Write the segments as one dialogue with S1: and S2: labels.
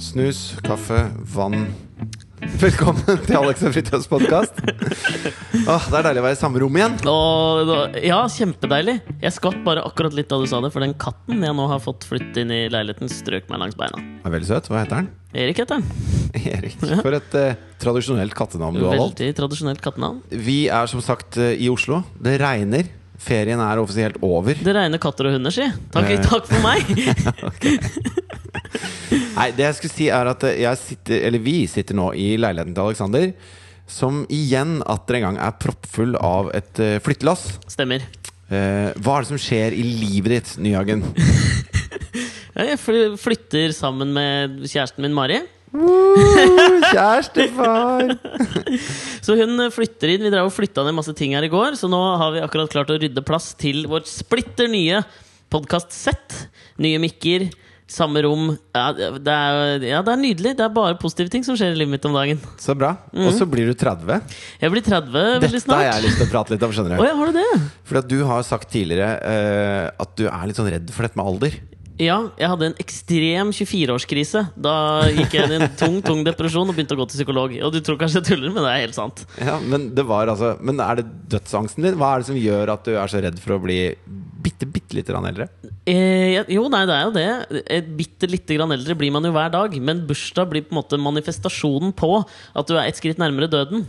S1: snus, kaffe, vann. Velkommen til Alex og Fritjofs podkast. Åh, det er deilig å være i samme rom igjen.
S2: Og, da- ja, kjempedeilig. Jeg skvatt bare akkurat litt da du sa det, for den katten jeg nå har fått flyttet inn i leiligheten, strøk meg langs beina.
S1: Er veldig søt. Hva heter han?
S2: Erik heter han.
S1: Erik. For et eh, tradisjonelt kattenavn du har valgt.
S2: Veldig tradisjonelt kattenavn.
S1: Vi er som sagt eh, i Oslo. Det regner. Ferien er offisielt over.
S2: Det regner katter og hunder, si. Takk,
S1: Eh.
S2: takk for meg!
S1: Nei, det jeg skulle si er at eh, jeg sitter, eller vi sitter nå i leiligheten til Alexander, som igjen atter en gang er proppfull av et eh, flyttelass.
S2: Stemmer.
S1: Eh, hva er det som skjer i livet ditt, Nyhagen?
S2: Ja, Jeg fly- flytter sammen med kjæresten min, Mari.
S1: Kjærestefar!
S2: Så hun eh, flytter inn. Vi drev og flytta ned masse ting her i går, så nå har vi akkurat klart å rydde plass til vårt splitter nye podkast-sett. Nye mikker, samme rom. Ja, det det er, ja, det er nydelig. Det er bare positive ting som skjer i livet mitt om dagen.
S1: Så bra. Og så blir du 30.
S2: Jeg blir 30 Mm.
S1: Dette
S2: veldig
S1: har
S2: snart.
S1: jeg lyst til å prate litt om, skjønner
S2: Å
S1: du.
S2: ja, har du det?
S1: Fordi at du har sagt tidligere eh, at du er litt sånn redd for dette med alder.
S2: Ja, jeg hadde en ekstrem 24-årskrise. Da gikk jeg inn i en tung tung depresjon og begynte å gå til psykolog. Og du tror kanskje jeg tuller, men det er helt sant.
S1: Ja, men, det var altså, men er det dødsangsten din? Hva er det som gjør at du er så redd for å bli bitte, bitte lite grann eldre?
S2: Eh, jeg- jo, nei, det er jo det. Eh, Bitte lite grann eldre blir man jo hver dag. Men bursdag blir på en måte manifestasjonen på at du er ett skritt nærmere døden.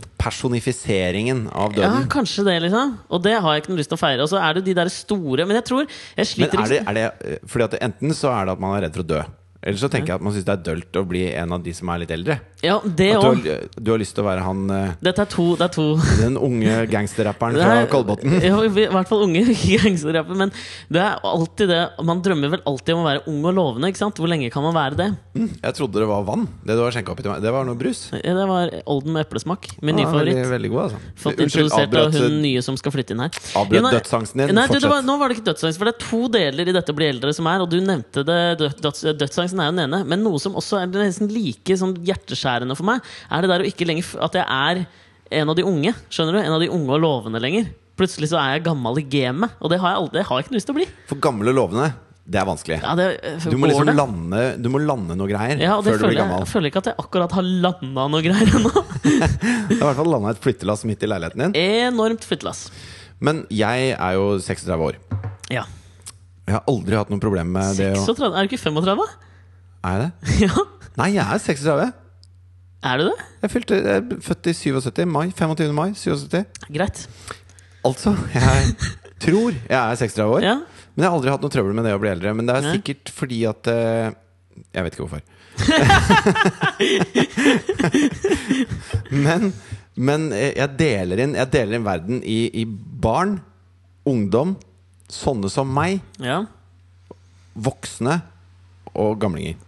S1: Personifiseringen av
S2: Ja,
S1: døden.
S2: kanskje det, liksom. Og det har jeg ikke noe lyst til å feire. Og så er det jo de der store Men jeg tror jeg sliter
S1: men er det,
S2: ikke-
S1: er det, eh, fordi at enten så er det at man er redd for å dø. Eller så tenker jeg at man syns det er dølt å bli en av de som er litt eldre.
S2: Ja, det
S1: At du,
S2: òg.
S1: har, du har lyst til å være han eh,
S2: Dette er to, det er to
S1: den unge gangsterrapperen
S2: Det
S1: fra
S2: er-
S1: Kolbotn.
S2: Ja, I hvert fall unge gangsterrappe. Men det er alltid det Man drømmer vel alltid om å være ung og lovende. ikke sant? Hvor lenge kan man være det?
S1: Jeg trodde det var vann. Det du har skjenka oppi til meg, det var noe brus.
S2: Ja, Det var Olden med eplesmak. Min nye
S1: Ja, veldig,
S2: favoritt.
S1: veldig god, altså.
S2: Fått
S1: Unnskyld,
S2: introdusert av
S1: avbrøt, eh,
S2: hun nye som skal flytte inn her.
S1: avbrøt
S2: Jo, nei-
S1: dødsangsten din.
S2: Nei, du, det var,
S1: Fortsett.
S2: nå var det ikke dødsangst. For det er to deler i dette å bli eldre som er, og du nevnte det. Død, døds, dødsangsten er jo den ene. Men noe som også er nesten like sånn hjerteskjærende for meg, er det der å ikke lenger f- At jeg er en av de unge. Skjønner du? En av de unge og lovende lenger. Plutselig så er jeg gammel i gamet, og det har jeg, aldri, det har jeg ikke noe lyst til å bli.
S1: eh, For gamle lovende, det er vanskelig.
S2: Ja, det, eh,
S1: Du må
S2: går
S1: liksom
S2: det?
S1: lande, du må lande noe greier
S2: ja, og det
S1: før du blir
S2: føler jeg,
S1: gammel.
S2: jeg føler ikke at jeg akkurat har landa noe greier ennå.
S1: Det er i hvert fall landa et flyttelass midt i leiligheten din.
S2: Enormt flyttelass.
S1: Men jeg er jo 36 år.
S2: Ja.
S1: Jeg har aldri hatt noe problem med det. å-
S2: 36, er du ikke 35?
S1: Er jeg det?
S2: Ja,
S1: Nei, jeg er 36.
S2: er du det?
S1: Jeg, fylte, jeg er født i 77. mai. 25. mai 77.
S2: Greit.
S1: Altså, jeg tror jeg er 36 år.
S2: Ja.
S1: Men jeg har aldri hatt noe trøbbel med det å bli eldre. Men det er
S2: Nei.
S1: sikkert fordi at eh, Jeg vet ikke hvorfor. men men eh, jeg, deler inn, jeg deler inn verden i, i barn, ungdom, sånne som meg,
S2: Ja.
S1: voksne og gamlinger.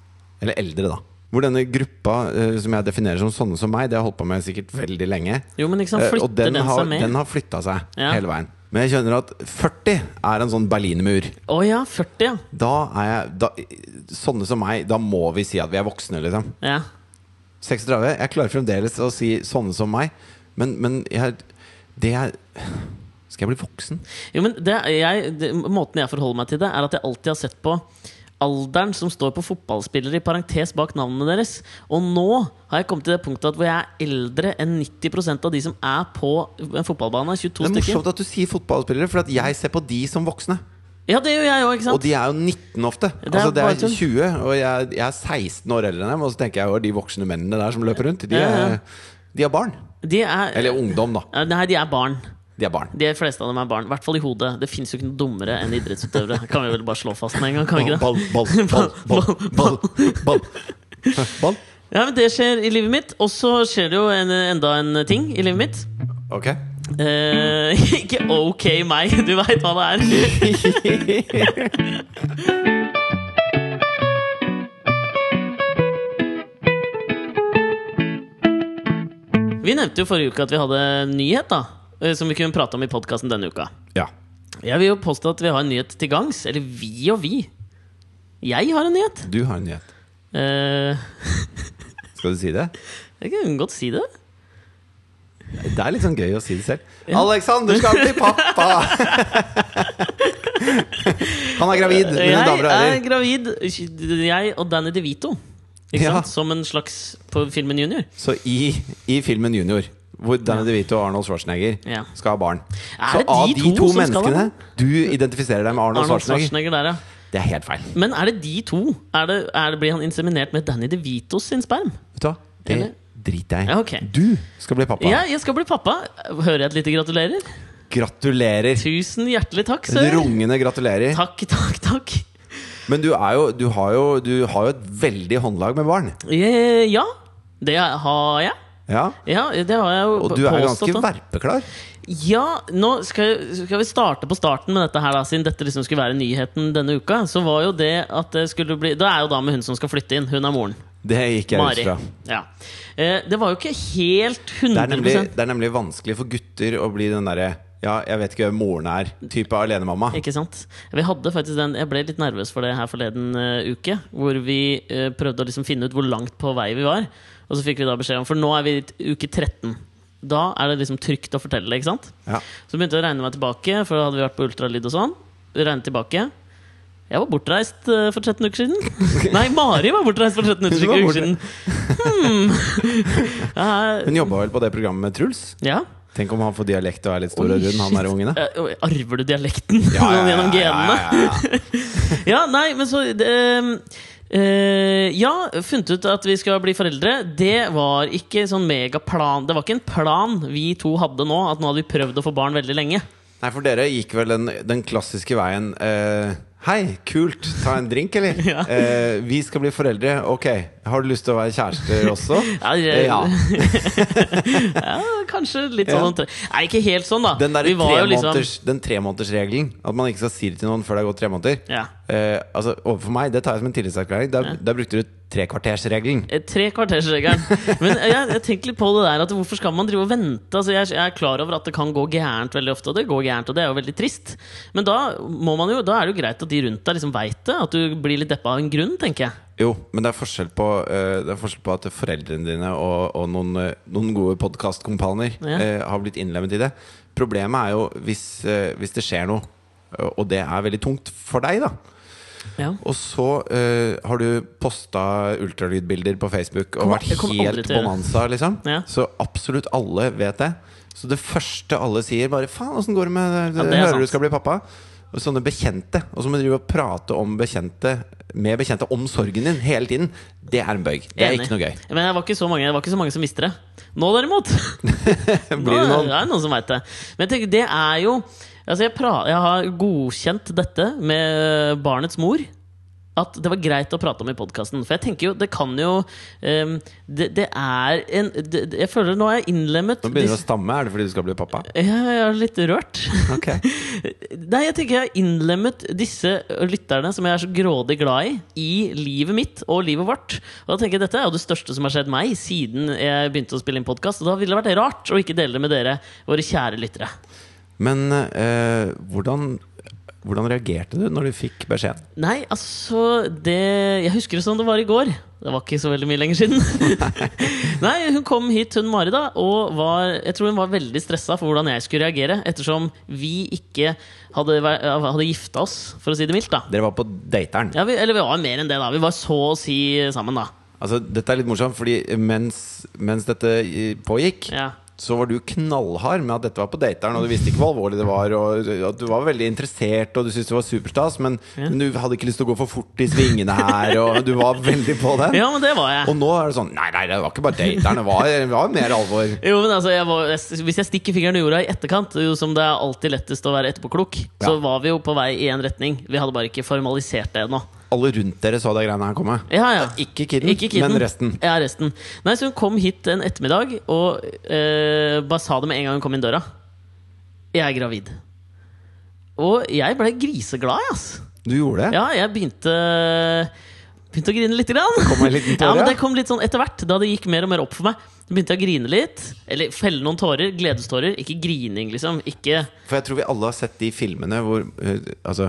S1: Eller eldre, da. Hvor denne gruppa eh, som jeg definerer som sånne som meg, det har jeg holdt på med sikkert veldig lenge.
S2: Jo, men ikke sant,
S1: Eh,
S2: flytter
S1: og den, har,
S2: seg med?
S1: den har flytta seg
S2: Ja.
S1: hele veien. Men jeg kjenner at 40 er en sånn berlinmur.
S2: Å ja, 40, ja.
S1: Da er jeg da, Sånne som meg, da må vi si at vi er voksne, liksom.
S2: ja.
S1: 36. Jeg klarer fremdeles å si sånne som meg, men, men jeg, det er Skal jeg bli voksen?
S2: Jo, men det, jeg, det, Måten jeg forholder meg til det, er at jeg alltid har sett på alderen som står på fotballspillere i parentes bak navnene deres. Og nå har jeg kommet til det punktet at hvor jeg er eldre enn 90 av de som er på en fotballbane. 22
S1: Det er
S2: stykker.
S1: morsomt at du sier fotballspillere, for at jeg ser på de som voksne.
S2: Ja, det gjør jeg òg,
S1: Og
S2: ikke sant?
S1: de er jo 19 ofte.
S2: er
S1: altså, det
S2: bare
S1: er
S2: tull.
S1: 20, og jeg, jeg er 16 år eldre enn dem. Og så tenker jeg jo de voksne mennene der som løper rundt, de
S2: Ja, ja.
S1: er, de er barn.
S2: De er,
S1: Eller ungdom, da.
S2: Ja, Nei, de er barn.
S1: De er barn.
S2: De fleste av dem er barn. I hvert fall i hodet. Det fins jo ikke noe dummere enn idrettsutøvere. Kan vi vel bare slå fast med en gang? kan vi ikke det?
S1: Ball, ball, ball, ball, ball, ball. Ball?
S2: Ja, men Det skjer i livet mitt. Og så skjer det jo en, enda en ting i livet mitt.
S1: Ok.
S2: Eh, ikke OK meg, du veit hva det er. Vi nevnte jo forrige uke at vi hadde en nyhet da eh, som vi kunne prate om i podkasten denne uka.
S1: Ja.
S2: Jeg vil jo påstå at vi har en nyhet til gangs. Eller vi og vi. Jeg har en nyhet.
S1: Du har en nyhet.
S2: Eh,
S1: Skal du si det?
S2: jeg kan godt si det.
S1: Det er litt sånn gøy å si det selv. Alexander skal bli pappa! Han er gravid, mine
S2: Jeg
S1: damer og
S2: er
S1: herrer.
S2: gravid. Jeg og Danny DeVito Ikke
S1: Ja.
S2: sant? Som en slags på filmen Junior.
S1: Så i, i filmen Junior, hvor Danny DeVito og Arnold Schwarzenegger
S2: Ja.
S1: skal ha barn
S2: Er
S1: Så
S2: det de
S1: av de
S2: to
S1: to
S2: som skal ha
S1: menneskene Du identifiserer deg med Arnold,
S2: Arnold
S1: Schwarzenegger.
S2: Schwarzenegger der, ja.
S1: Det er helt feil.
S2: Men er det de to? Er det, er det, blir han inseminert med Danny DeVitos sin sperm?
S1: Vet du hva? Det
S2: Eller-
S1: driter jeg i.
S2: Ja, ok.
S1: Du skal bli pappa.
S2: Ja, jeg skal bli pappa. Hører jeg et lite gratulerer?
S1: Gratulerer.
S2: Tusen hjertelig takk,
S1: En
S2: sør.
S1: rungende gratulerer.
S2: Takk, takk, takk.
S1: Men du, er jo, du, har jo, du har jo et veldig håndlag med barn.
S2: Eh, Ja, det har jeg.
S1: Ja.
S2: Ja, det har jeg jo
S1: Og du er jo
S2: påstått,
S1: ganske
S2: da.
S1: verpeklar.
S2: Ja, nå skal, skal vi starte på starten med dette her, da, siden dette liksom skulle være nyheten denne uka. Så var jo det at det skulle bli Det er jo da med hun som skal flytte inn. Hun er moren.
S1: Det gikk jeg ut
S2: Mari.
S1: fra.
S2: Ja. Eh, Det var jo ikke helt 100
S1: Det er, nemlig, det er nemlig vanskelig for gutter å bli den derre ja, jeg vet ikke hvem moren er, type alenemamma.
S2: Ikke sant? Vi hadde faktisk den Jeg ble litt nervøs for det her forleden eh, uke. Hvor vi eh, prøvde å liksom finne ut hvor langt på vei vi var. Og så fikk vi da beskjed om For nå er vi i uke 13. Da er det liksom trygt å fortelle. ikke sant?
S1: Ja.
S2: Så begynte jeg å regne meg tilbake, for da hadde vi vært på ultralyd og sånn. Regnet tilbake Jeg var bortreist eh, for 13 uker siden. Nei, Mari var bortreist for 13
S1: Hun var
S2: uker siden. Hmm.
S1: Hun jobba vel på det programmet med Truls?
S2: Ja.
S1: Tenk om han får dialekt og er litt stor og rund, han der ungen. da.
S2: Eh, og Arver du dialekten
S1: ja, ja,
S2: gjennom
S1: ja, ja,
S2: genene?
S1: ja, ja.
S2: Ja, nei, men så ehm, eh, Ja, funnet ut at vi skal bli foreldre. Det var ikke sånn megaplan. Det var ikke en plan vi to hadde nå, at nå hadde vi prøvd å få barn veldig lenge.
S1: Nei, for dere gikk vel den, den klassiske veien eh, Hei, kult, ta en drink, eller?
S2: Ja.
S1: Eh, vi skal bli foreldre. Ok, har du lyst til å være kjærester også?
S2: Ja, det-
S1: ja.
S2: Ja, kanskje litt
S1: Ja.
S2: sånn omtre- Nei, ikke helt sånn, da.
S1: Den der
S2: Vi var jo liksom-
S1: tremåneders- den tremånedersregelen, at man ikke skal si det til noen før det har gått tre måneder
S2: Ja.
S1: eh, Altså, Overfor meg, det tar jeg som en tillitserklæring. Der, der brukte du trekvartersregelen.
S2: Eh, Tre kvartersregelen. Men eh, jeg, jeg tenker litt på det der at hvorfor skal man drive og vente? Altså jeg, jeg er klar over at det kan gå gærent veldig ofte, og det går gærent, og det er jo veldig trist. Men da, må man jo, da er det jo greit at de rundt deg liksom veit det, at du blir litt deppa av en grunn, tenker jeg.
S1: Jo, men det er forskjell på, eh, det er forskjell på at foreldrene dine og, og noen, eh, noen gode podkastkompaner
S2: Ja.
S1: har blitt innlemmet i det. Problemet er jo hvis, eh, hvis det skjer noe, eh, og det er veldig tungt for deg, da.
S2: Ja.
S1: Og så eh, har du posta ultralydbilder på Facebook og
S2: Kommer-
S1: vært
S2: jeg kommer aldri
S1: helt
S2: til å gjøre det.
S1: bonanza, liksom.
S2: Ja.
S1: Så absolutt alle vet det. Så det første alle sier, bare 'faen, åssen går det med
S2: Ja, det er
S1: Hører
S2: sant.
S1: du skal bli pappa?' Og sånne bekjente. Og så må du drive og prate om bekjente med bekjente om sorgen din hele tiden. Det er en bøyg. Det er
S2: Enig.
S1: ikke noe gøy.
S2: Men det var ikke så mange, det var ikke så mange som visste det. Nå, derimot,
S1: Blir det
S2: Nå
S1: noen?
S2: er det noen som veit det. Men jeg tenker, det er jo Altså, jeg, pra jeg har godkjent dette med barnets mor. At det var greit å prate om i podkasten. For jeg tenker jo, det kan jo ehm, det, det er en det, det- Jeg føler nå er jeg innlemmet
S1: Nå begynner du å stamme. Er det fordi du skal bli pappa?
S2: disse- ja, Jeg er litt rørt.
S1: Ok
S2: Nei, jeg tenker jeg har innlemmet disse lytterne som jeg er så grådig glad i, i livet mitt og livet vårt. Og da tenker jeg Dette er jo det største som har skjedd meg siden jeg begynte å spille inn podkast. Og da ville det vært rart å ikke dele det med dere, våre kjære lyttere.
S1: Men eh, hvordan, hvordan reagerte du når du fikk beskjeden?
S2: Nei, altså det, Jeg husker det som det var i går. Det var ikke så veldig mye lenger siden. Nei, Hun kom hit, hun Mari, da, og var, jeg tror hun var veldig stressa for hvordan jeg skulle reagere. Ettersom vi ikke hadde, væ- hadde gifta oss, for å si det mildt. da
S1: Dere var på dateren.
S2: Ja, vi, eller vi var mer enn det, da. Vi var så å si sammen, da.
S1: Altså, dette er litt morsomt, fordi mens, mens dette eh, pågikk,
S2: Ja.
S1: så var du knallhard med at dette var på dateren, og du visste ikke hvor alvorlig det var, og at du var veldig interessert, og du syntes det var superstas, men, men du hadde ikke lyst til å gå for fort i svingene her, og du var veldig på den.
S2: ja, men det var jeg.
S1: Og nå er det sånn Nei, nei, det var ikke bare dateren, det var, det var mer alvor.
S2: Jo, men altså, jeg var, jeg- Hvis jeg stikker fingeren i jorda i etterkant, jo som det er alltid lettest å være etterpåklok,
S1: Ja.
S2: så var vi jo på vei i én retning. Vi hadde bare ikke formalisert det ennå.
S1: Alle rundt dere så det greiene her komme.
S2: Ja, ja.
S1: Ikke kidden,
S2: Ikke kidden.
S1: men resten.
S2: Ja, resten. Nei, så hun kom hit en ettermiddag og eh, bare sa det med en gang hun kom inn døra. Jeg er gravid. Og jeg ble griseglad, ass.
S1: Du gjorde det?
S2: Ja, jeg begynte Begynte å grine litt. Grann.
S1: Kom en liten tåre,
S2: ja, men
S1: ja?
S2: det kom litt sånn etter hvert, da det gikk mer og mer opp for meg. Så begynte jeg å grine litt. Eller felle noen tårer. Gledestårer. Ikke grining, liksom. Ikke
S1: For jeg tror vi alle har sett de filmene hvor eh, altså,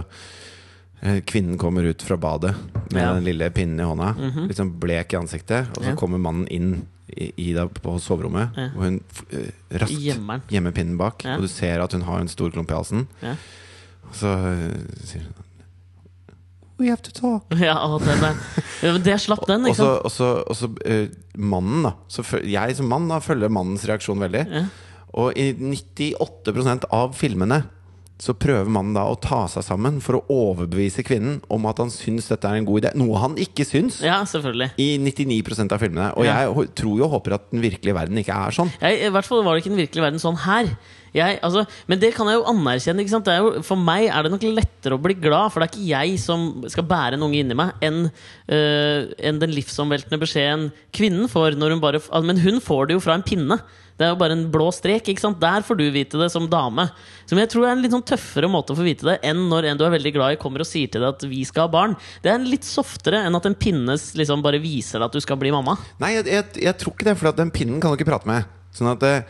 S1: eh, kvinnen kommer ut fra badet med
S2: Ja. Mhm.
S1: den lille pinnen i hånda. Litt sånn blek i ansiktet. Og så
S2: Ja.
S1: kommer mannen inn i, i deg på soverommet,
S2: Ja.
S1: og hun eh, raskt
S2: Gjemmer den.
S1: gjemmer pinnen bak.
S2: Ja.
S1: Og du ser at hun har en stor klump i halsen.
S2: Ja.
S1: Og så eh, sier hun We have to talk.
S2: Ja, å, den er. Ja, men det slapp den,
S1: Og
S2: ikke sant?
S1: så- og så og så, eh, mannen, da. Så føl- jeg som mann da følger mannens reaksjon veldig. Og i 98 av filmene så prøver mannen da å ta seg sammen for å overbevise kvinnen om at han syns dette er en god idé. Noe han ikke syns
S2: Ja, selvfølgelig.
S1: i 99 av filmene. Og
S2: Ja.
S1: jeg ho- tror jo og håper at den virkelige verden ikke er sånn.
S2: Jeg, I hvert fall var det ikke den virkelige verden sånn her. Jeg, altså, men det kan jeg jo anerkjenne. Ikke sant? Det er jo, for meg er det nok lettere å bli glad, for det er ikke jeg som skal bære en unge inni meg, enn øh, enn den livsomveltende beskjeden kvinnen får. Når hun bare, f- al- men hun får det jo fra en pinne. Det er jo bare en blå strek. Ikke sant? Der får du vite det som dame. Som jeg tror er en litt sånn tøffere måte å få vite det enn når en du er veldig glad i, kommer og sier til deg at vi skal ha barn. Det er en litt softere enn at en pinne s- liksom bare viser deg at du skal bli mamma.
S1: Nei, jeg, jeg, jeg tror ikke det, for at den pinnen kan du ikke prate med. Sånn at, eh,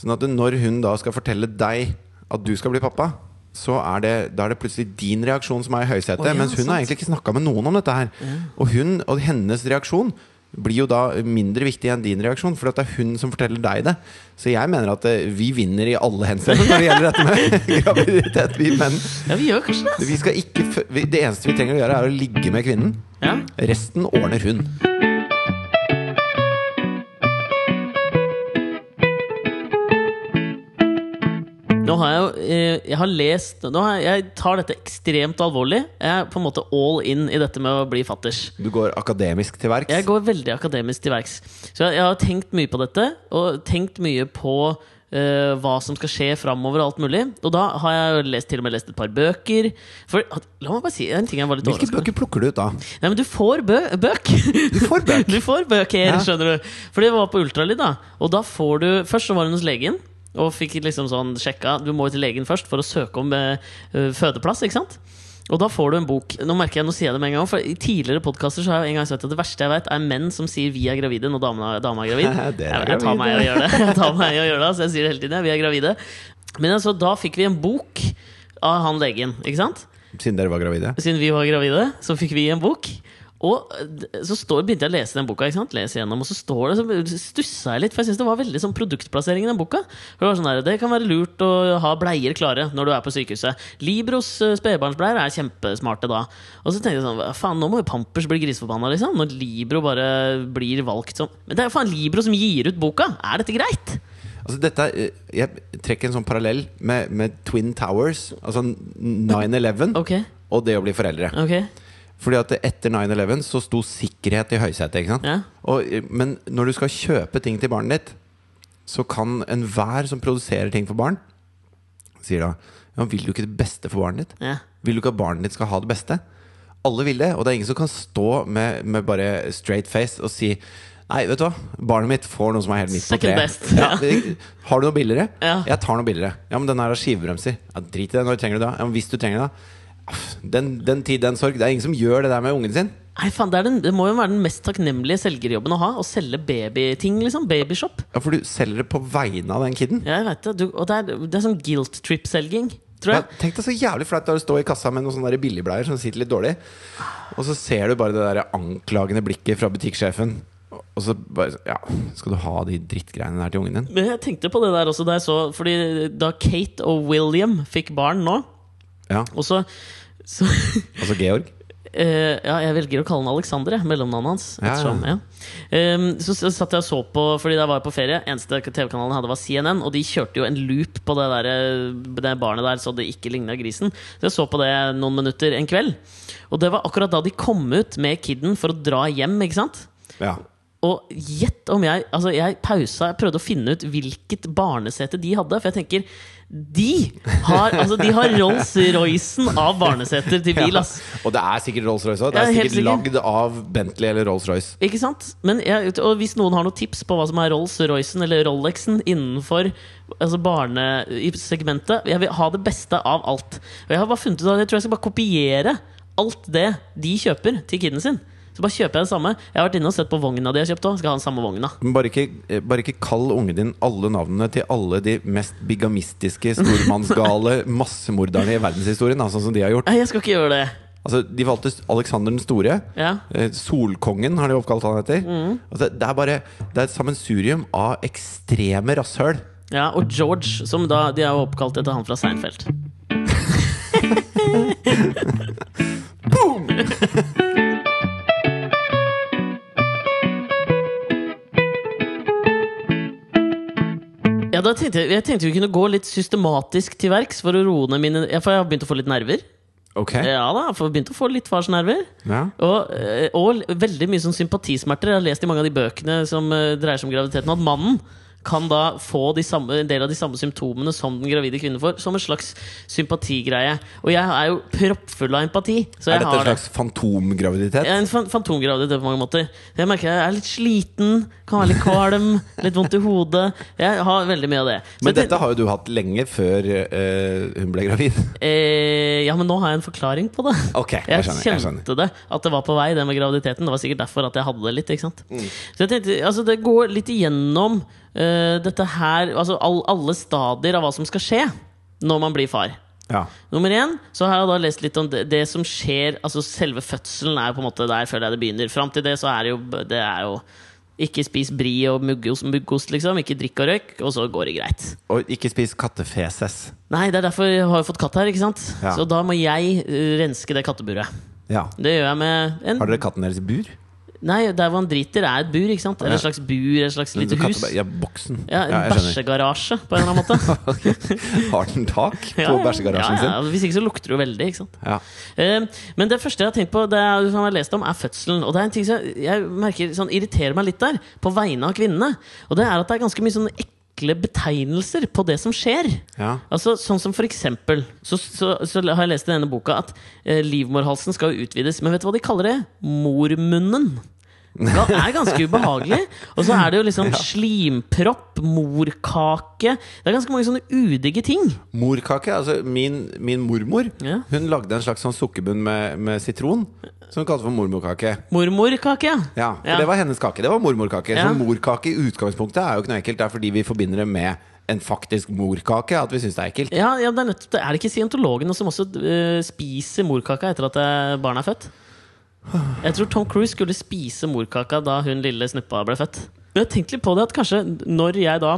S1: sånn at når hun da skal fortelle deg at du skal bli pappa, så er det, da er det plutselig din reaksjon som er i høysetet.
S2: Å ja,
S1: mens hun har
S2: sant.
S1: egentlig ikke snakka med noen om dette her. Og hun og hennes reaksjon blir jo da mindre viktig enn din reaksjon, for det er hun som forteller deg det. Så jeg mener at eh, vi vinner i alle henseender når det gjelder dette med graviditet. Vi menn.
S2: Ja, vi gjør kanskje det. altså.
S1: Vi skal ikke, fø- vi, det eneste vi trenger å gjøre, er å ligge med kvinnen.
S2: Ja.
S1: Resten ordner hun.
S2: Nå har jeg jo eh, Jeg har lest nå har jeg, jeg tar dette ekstremt alvorlig. Jeg er på en måte all in i dette med å bli fatters.
S1: Du går akademisk til verks.
S2: Jeg går veldig akademisk til verks. Så jeg, jeg har tenkt mye på dette, og tenkt mye på eh, hva som skal skje framover og alt mulig. Og da har jeg jo lest, til og med lest et par bøker. For la meg bare si en ting jeg var litt
S1: Hvilke
S2: overrasket over.
S1: bøker plukker du ut da?
S2: Nei, men du får bø bøk!
S1: Du får bøk.
S2: Du får bøker,
S1: Ja.
S2: skjønner du. For det var på ultralyd, da. Og da får du Først så var hun hos legen. Og fikk liksom sånn sjekka Du må jo til legen først for å søke om eh, eh, fødeplass. ikke sant? Og da får du en bok. Nå merker jeg, nå sier jeg det med en gang For I tidligere podkaster har jeg en gang sagt at det verste jeg vet, er menn som sier 'vi er gravide' når dama, dama er gravid.
S1: Dere er
S2: jeg, jeg tar meg i å gjøre det. Jeg tar meg i å gjøre det, altså jeg sier det hele tiden. ja, Vi er gravide. Men altså, da fikk vi en bok av han legen, ikke sant?
S1: Siden dere var gravide?
S2: Siden vi var gravide, så fikk vi en bok. Og eh, d- så står, begynte jeg å lese den boka, ikke sant? Lese gjennom, og så står det, så stussa jeg litt. For jeg synes det var veldig sånn produktplassering i den boka. For Det var sånn der, det kan være lurt å ha bleier klare når du er på sykehuset. Libros eh, spedbarnsbleier er kjempesmarte da. Og så tenkte jeg sånn, faen, nå må jo Pampers bli griseforbanna, liksom. Når Libro bare blir valgt som Men det er jo faen Libro som gir ut boka! Er dette greit?
S1: Altså dette, er, eh, jeg trekker en sånn parallell med, med Twin Towers, altså 9-11,
S2: Ok,
S1: og det å bli foreldre.
S2: ok.
S1: Fordi at etter 9-11 så sto sikkerhet i høysetet. ikke sant?
S2: Ja.
S1: Og, eh, men når du skal kjøpe ting til barnet ditt, så kan enhver som produserer ting for barn, sier da ja, Vil du ikke det beste for barnet ditt?
S2: Ja.
S1: Vil du ikke at barnet ditt skal ha det beste? Alle vil det, og det er ingen som kan stå med, med bare straight face og si Nei, vet du hva? Barnet mitt får noe som er helt midt på
S2: Second
S1: treet.
S2: best, ja.
S1: det- Har du noe billigere?
S2: Ja.
S1: Jeg tar noe billigere. Ja, men den her har skivebremser. Ja, Drit i det. Når trenger du det? Ja, men hvis du trenger det. Aff, Den, den tid, den sorg. Det er ingen som gjør det der med ungen sin.
S2: Nei, faen, det, er den, det må jo være den mest takknemlige selgerjobben å ha. Å selge babyting. liksom Babyshop.
S1: Ja, For du selger det på vegne av den kiden.
S2: Ja, jeg vet det. Du, og det er, det er sånn guilt trip-selging, tror
S1: Ja,
S2: jeg.
S1: tenk deg så jævlig flaut det er å stå i kassa med noen sånne der billigbleier som sitter litt dårlig, og så ser du bare det der anklagende blikket fra butikksjefen. Og så bare så- Ja, skal du ha de drittgreiene der til ungen din?
S2: Men jeg tenkte på det der også da jeg så Fordi da Kate og William fikk barn nå,
S1: Ja,
S2: og så, så
S1: Altså Georg?
S2: Eh, ja, jeg velger å kalle han Alexander, jeg, mellomnavnet hans.
S1: Ja, ja.
S2: ettersom, ja. Ehm, så, så satt jeg og så på, fordi da var jeg på ferie. Eneste TV-kanalen jeg hadde, var CNN, og de kjørte jo en loop på det, der, eh, det barnet der, så det ikke ligna grisen. Så jeg så på det noen minutter en kveld. Og det var akkurat da de kom ut med kiden for å dra hjem, ikke sant?
S1: Ja.
S2: Og gjett om jeg Altså jeg pausa Jeg prøvde å finne ut hvilket barnesete de hadde. For jeg tenker De har, altså, de har Rolls-Roycen av barneseter til bil, ass.
S1: Og det er sikkert Rolls-Royce òg. Det
S2: Ja,
S1: er
S2: helt
S1: sikkert
S2: sikkert.
S1: lagd av Bentley eller Rolls-Royce.
S2: Ikke sant? Men jeg, og hvis noen har noen tips på hva som er Rolls-Roycen eller Rolexen innenfor altså barnesegmentet Jeg vil ha det beste av alt. Og jeg har bare funnet ut at jeg tror jeg skal bare kopiere alt det de kjøper til kiden sin. Så bare kjøper jeg det samme. Jeg har vært inne og sett på vogna de har kjøpt òg. Skal ha den samme vogna.
S1: Men bare ikke, eh, bare ikke kall ungen din alle navnene til alle de mest bigamistiske, stormannsgale massemorderne i verdenshistorien, da, sånn som de har gjort.
S2: Nei, jeg skal ikke gjøre det.
S1: Altså, de valgte Alexander den store.
S2: Ja.
S1: Eh, Solkongen har de oppkalt han etter.
S2: Mm.
S1: Altså, det er bare Det er et sammensurium av ekstreme rasshøl.
S2: Ja, og George, som da De er jo oppkalt etter han fra Seinfeld.
S1: Boom!
S2: da tenkte jeg, jeg tenkte vi kunne gå litt systematisk til verks for å roe ned mine ja, For jeg har begynt å få litt nerver.
S1: Ok.
S2: Ja da, for jeg har begynt å få litt farsnerver.
S1: Ja.
S2: Og, eh, og veldig mye sånn sympatismerter. Jeg har lest i mange av de bøkene som eh, dreier seg om graviditeten, at mannen kan da få de samme, en del av de samme symptomene som den gravide kvinnen får, som en slags sympatigreie. Og jeg er jo proppfull av empati. Så
S1: Er
S2: jeg
S1: dette
S2: har
S1: en slags fantomgraviditet?
S2: jeg er en fan- fantomgraviditet på mange måter. Jeg merker jeg er litt sliten, kan være litt kvalm, litt vondt i hodet. Jeg har veldig mye av det. Så
S1: Men
S2: jeg
S1: dette har jo du hatt lenge før eh, hun ble gravid.
S2: ten- eh, Ja, men nå har jeg en forklaring på det.
S1: Ok, jeg
S2: Jeg,
S1: skjønner. Jeg skjønner.
S2: kjente det, at det var på vei, det med graviditeten. Det var sikkert derfor at jeg hadde det litt. ikke sant?
S1: Mm.
S2: Så jeg tenkte, altså Det går litt igjennom eh, dette her Altså all, alle stadier av hva som skal skje når man blir far.
S1: Ja.
S2: Nummer én, så har jeg da lest litt om det, det som skjer Altså selve fødselen er jo på en måte der føler jeg det begynner. Fram til det så er det jo, det er jo Ikke spis brie og muggost, muggost, liksom. Ikke drikk og røyk, og så går det greit.
S1: Og ikke spis kattefeses.
S2: Nei, det er derfor jeg har jo fått katt her, ikke sant?
S1: Ja.
S2: Så da må jeg eh, renske det katteburet.
S1: Ja.
S2: Det gjør jeg med en
S1: Har dere katten deres i bur?
S2: Nei, der hvor han driter, er et bur, ikke sant? Eller et slags bur, et slags lite hus.
S1: Katte- Ja, boksen.
S2: Ja, en
S1: jeg skjønner.
S2: bæsjegarasje, på en eller annen måte.
S1: Har den tak på
S2: Ja, ja.
S1: bæsjegarasjen
S2: ja, ja. Hvis ikke så lukter det jo veldig. ikke sant?
S1: sin? Ja.
S2: Eh, Men det første jeg har tenkt på, det er, som jeg har lest om, er fødselen. Og det er en ting som jeg- jeg merker sånn, irriterer meg litt der, på vegne av kvinnene. Og det er at det er ganske mye sånne ekle betegnelser på det som skjer.
S1: ja.
S2: Altså, sånn som for eksempel så, så, så har jeg lest i denne boka at eh, livmorhalsen skal jo utvides. Men vet du hva de kaller det? Mormunnen. Det er ganske ubehagelig. Og så er det jo liksom slimpropp, morkake Det er ganske mange sånne udigge ting.
S1: Morkake. Altså min, min mormor
S2: Ja.
S1: Hun lagde en slags sånn sukkerbunn med, med sitron, som hun kalte for mormorkake.
S2: Mormorkake, ja.
S1: Ja, for Det var hennes kake. Det var mormorkake.
S2: Ja.
S1: Så morkake i utgangspunktet er jo ikke noe ekkelt. Det er fordi vi forbinder det med en faktisk morkake at vi syns det er ekkelt.
S2: Ja, ja, det er, nettopp, det. er det ikke scientologene som også eh, spiser morkaka etter at eh, barna er født? Jeg tror Tom Cruise skulle spise morkaka da hun lille snuppa ble født. Men jeg har tenkt litt på det at kanskje når jeg da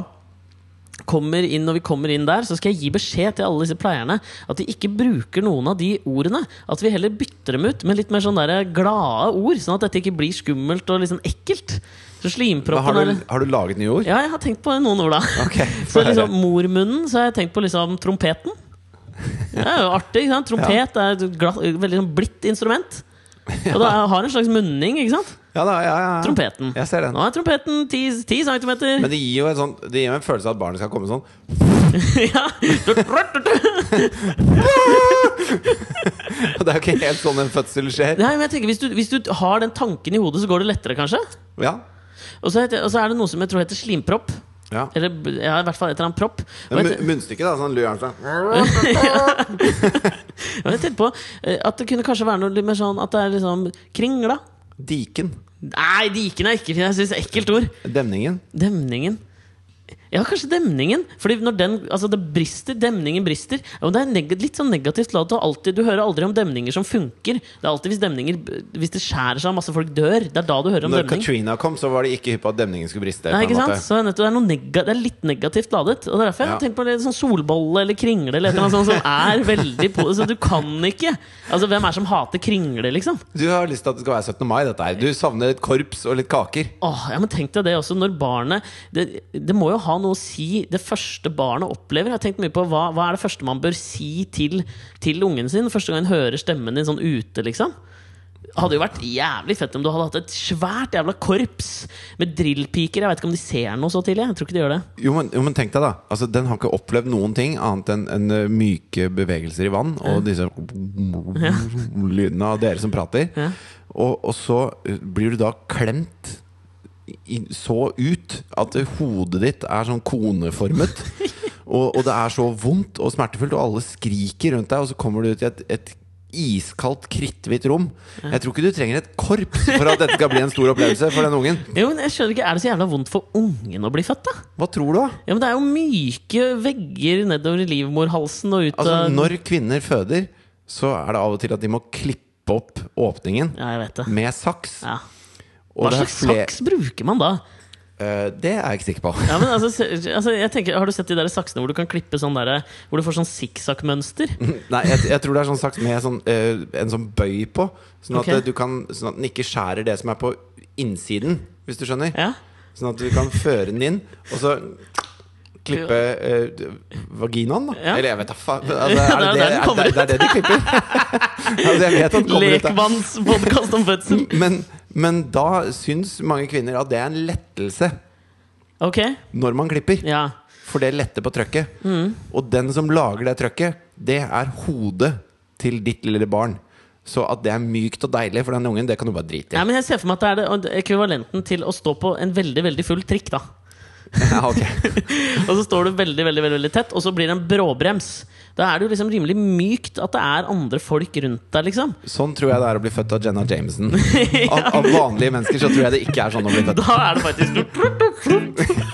S2: kommer inn, når vi kommer inn der, så skal jeg gi beskjed til alle disse pleierne at de ikke bruker noen av de ordene. At vi heller bytter dem ut med litt mer sånn der glade ord, sånn at dette ikke blir skummelt og liksom ekkelt. Så
S1: Men
S2: slimproppen
S1: har,
S2: eller-
S1: du, har du laget nye ord?
S2: ja, jeg har tenkt på noen ord, da.
S1: Ok, få
S2: så
S1: høre.
S2: liksom mormunnen, så har jeg tenkt på liksom trompeten. Det er jo artig. ikke sant? Trompet er et glatt, veldig sånn blidt instrument. Og det er- har en slags munning, ikke sant?
S1: Ja, da, ja, ja.
S2: Trompeten.
S1: Jeg ser den.
S2: Nå er trompeten ti, ti centimeter.
S1: Men det gir jo en, sånn, det gir jo en følelse av at barnet skal komme sånn.
S2: ja.
S1: Og det er jo ikke helt sånn en fødsel skjer.
S2: Nei, men jeg tenker, hvis du, hvis du har den tanken i hodet, så går det lettere, kanskje.
S1: Ja.
S2: Og så, heter, og så er det noe som jeg tror heter slimpropp.
S1: ja.
S2: Eller ja, i hvert fall et eller annet propp. Og
S1: Men
S2: jeg-
S1: mu- Munnstykket, da. Sånn lørn sånn.
S2: og jeg tenkte på eh, at det kunne kanskje være noe litt mer sånn at det er liksom kringla.
S1: Diken.
S2: Nei, diken er ikke fin. Jeg syns ekkelt ord.
S1: Demningen.
S2: Demningen. Ja, kanskje demningen. Fordi når den, altså det brister, demningen brister. Ja, men det er neg litt sånn negativt ladet. og Alltid, du hører aldri om demninger som funker. Det er alltid hvis demninger Hvis det skjærer seg og masse folk dør. Det er da du hører om
S1: Når
S2: demning.
S1: Katrina kom, så var det ikke hypp på at demningen skulle briste. på
S2: Nei,
S1: en
S2: ikke sant?
S1: måte.
S2: Så det er nettopp- det, er noe nega det er litt negativt ladet. Og det er derfor jeg
S1: Ja.
S2: har tenkt på litt sånn solbolle eller kringle eller et eller annet sånt som er veldig på Så du kan ikke Altså, hvem er det som hater kringle, liksom?
S1: Du har lyst til at det skal være 17. mai, dette her. Du savner et korps og litt kaker.
S2: Åh, ja, men tenk deg det også når barnet det, det må jo ha noe å si det første barnet opplever. Jeg har tenkt mye på Hva, hva er det første man bør si til, til ungen sin første gang hun hører stemmen din sånn ute? liksom hadde jo vært jævlig fett om du hadde hatt et svært jævla korps med drillpiker. Jeg vet ikke om de ser noe så tidlig. Jeg tror ikke de gjør det.
S1: Jo men, jo, men tenk deg, da. Altså, den har ikke opplevd noen ting annet enn enn, eh, myke bevegelser i vann og disse lydene av dere som prater.
S2: Ja.
S1: Og, og så eh, blir du da klemt i, så ut at hodet ditt er sånn koneformet. og, og det er så vondt og smertefullt, og alle skriker rundt deg, og så kommer du ut i et, et iskaldt, kritthvitt rom. Jeg tror ikke du trenger et korps for at dette skal bli en stor opplevelse for den ungen.
S2: Jo, men jeg skjønner ikke, Er det så jævla vondt for ungen å bli født, da?
S1: Hva tror du, da?
S2: Ja, men Det er jo myke vegger nedover i livmorhalsen og ut av
S1: Altså, når kvinner føder, så er det av og til at de må klippe opp åpningen
S2: Ja, jeg vet det.
S1: med saks.
S2: Ja.
S1: Og
S2: Hva
S1: det er
S2: slags
S1: fle-
S2: saks bruker man da?
S1: Eh, det er jeg ikke sikker på.
S2: Ja, men altså, se- altså, jeg tenker, Har du sett de der saksene hvor du kan klippe sånn der, hvor du får sånn sikksakk-mønster?
S1: Nei, jeg, jeg tror det er sånn saks med sånn, eh, en sånn bøy på, sånn at,
S2: Ok.
S1: eh, du kan, sånn at den ikke skjærer det som er på innsiden, hvis du skjønner.
S2: Ja.
S1: Sånn at du kan føre den inn, og så klippe eh, vaginaen, da?
S2: Ja.
S1: Eller jeg vet da faen. Altså,
S2: Ja,
S1: er det, det,
S2: det er jo der den
S1: er,
S2: kommer
S1: det, det er det de klipper? altså, jeg vet at den kommer ut der.
S2: Lekmannspodkast om fødsel.
S1: Men, men da syns mange kvinner at det er en lettelse
S2: Ok,
S1: når man klipper.
S2: ja. Mm.
S1: For det letter på trøkket. Og den som lager det trøkket, det er hodet til ditt lille barn. Så at det er mykt og deilig for den ungen, det kan du bare drite
S2: ja,
S1: i.
S2: men jeg ser for meg at det er det og det er ekvivalenten til å stå på en veldig veldig full trikk. da
S1: Ja, ok.
S2: Og så står du veldig veldig, veldig, veldig tett, og så blir det en bråbrems. Da er det jo liksom rimelig mykt at det er andre folk rundt deg. liksom
S1: Sånn tror jeg det er å bli født av Jenna Jameson. Av, av vanlige mennesker så tror jeg det ikke er sånn å bli født.
S2: Da er det faktisk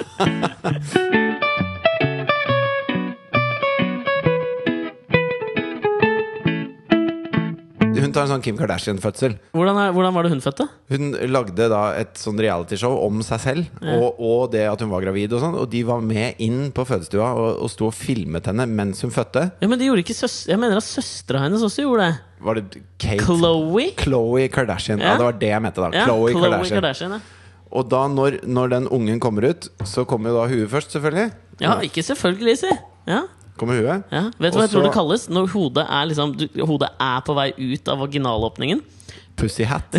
S1: Hun tar en sånn Kim Kardashian-fødsel.
S2: Hvordan, er, hvordan var det hun fødte?
S1: Hun lagde da et sånn realityshow om seg selv og, og det at hun var gravid. Og sånn Og de var med inn på fødestua og, og sto og filmet henne mens hun fødte.
S2: Ja, men de gjorde ikke søs Jeg mener at søstera hennes også gjorde det.
S1: Var det Kate
S2: Chloé.
S1: Khloe Kardashian. Ja.
S2: Ja.
S1: det var det jeg mente. da
S2: Ja,
S1: Khloe
S2: Khloe
S1: Kardashian.
S2: Kardashian ja.
S1: Og da når, når den ungen kommer ut, så kommer jo da huet først, selvfølgelig.
S2: ja, ikke selvfølgelig, si! Ja,
S1: Kommer huet.
S2: ja. Vet du
S1: Og
S2: hva jeg tror
S1: så-
S2: det kalles? Når hodet er, liksom, du, hodet er på vei ut av vaginalåpningen.
S1: Pussy hat.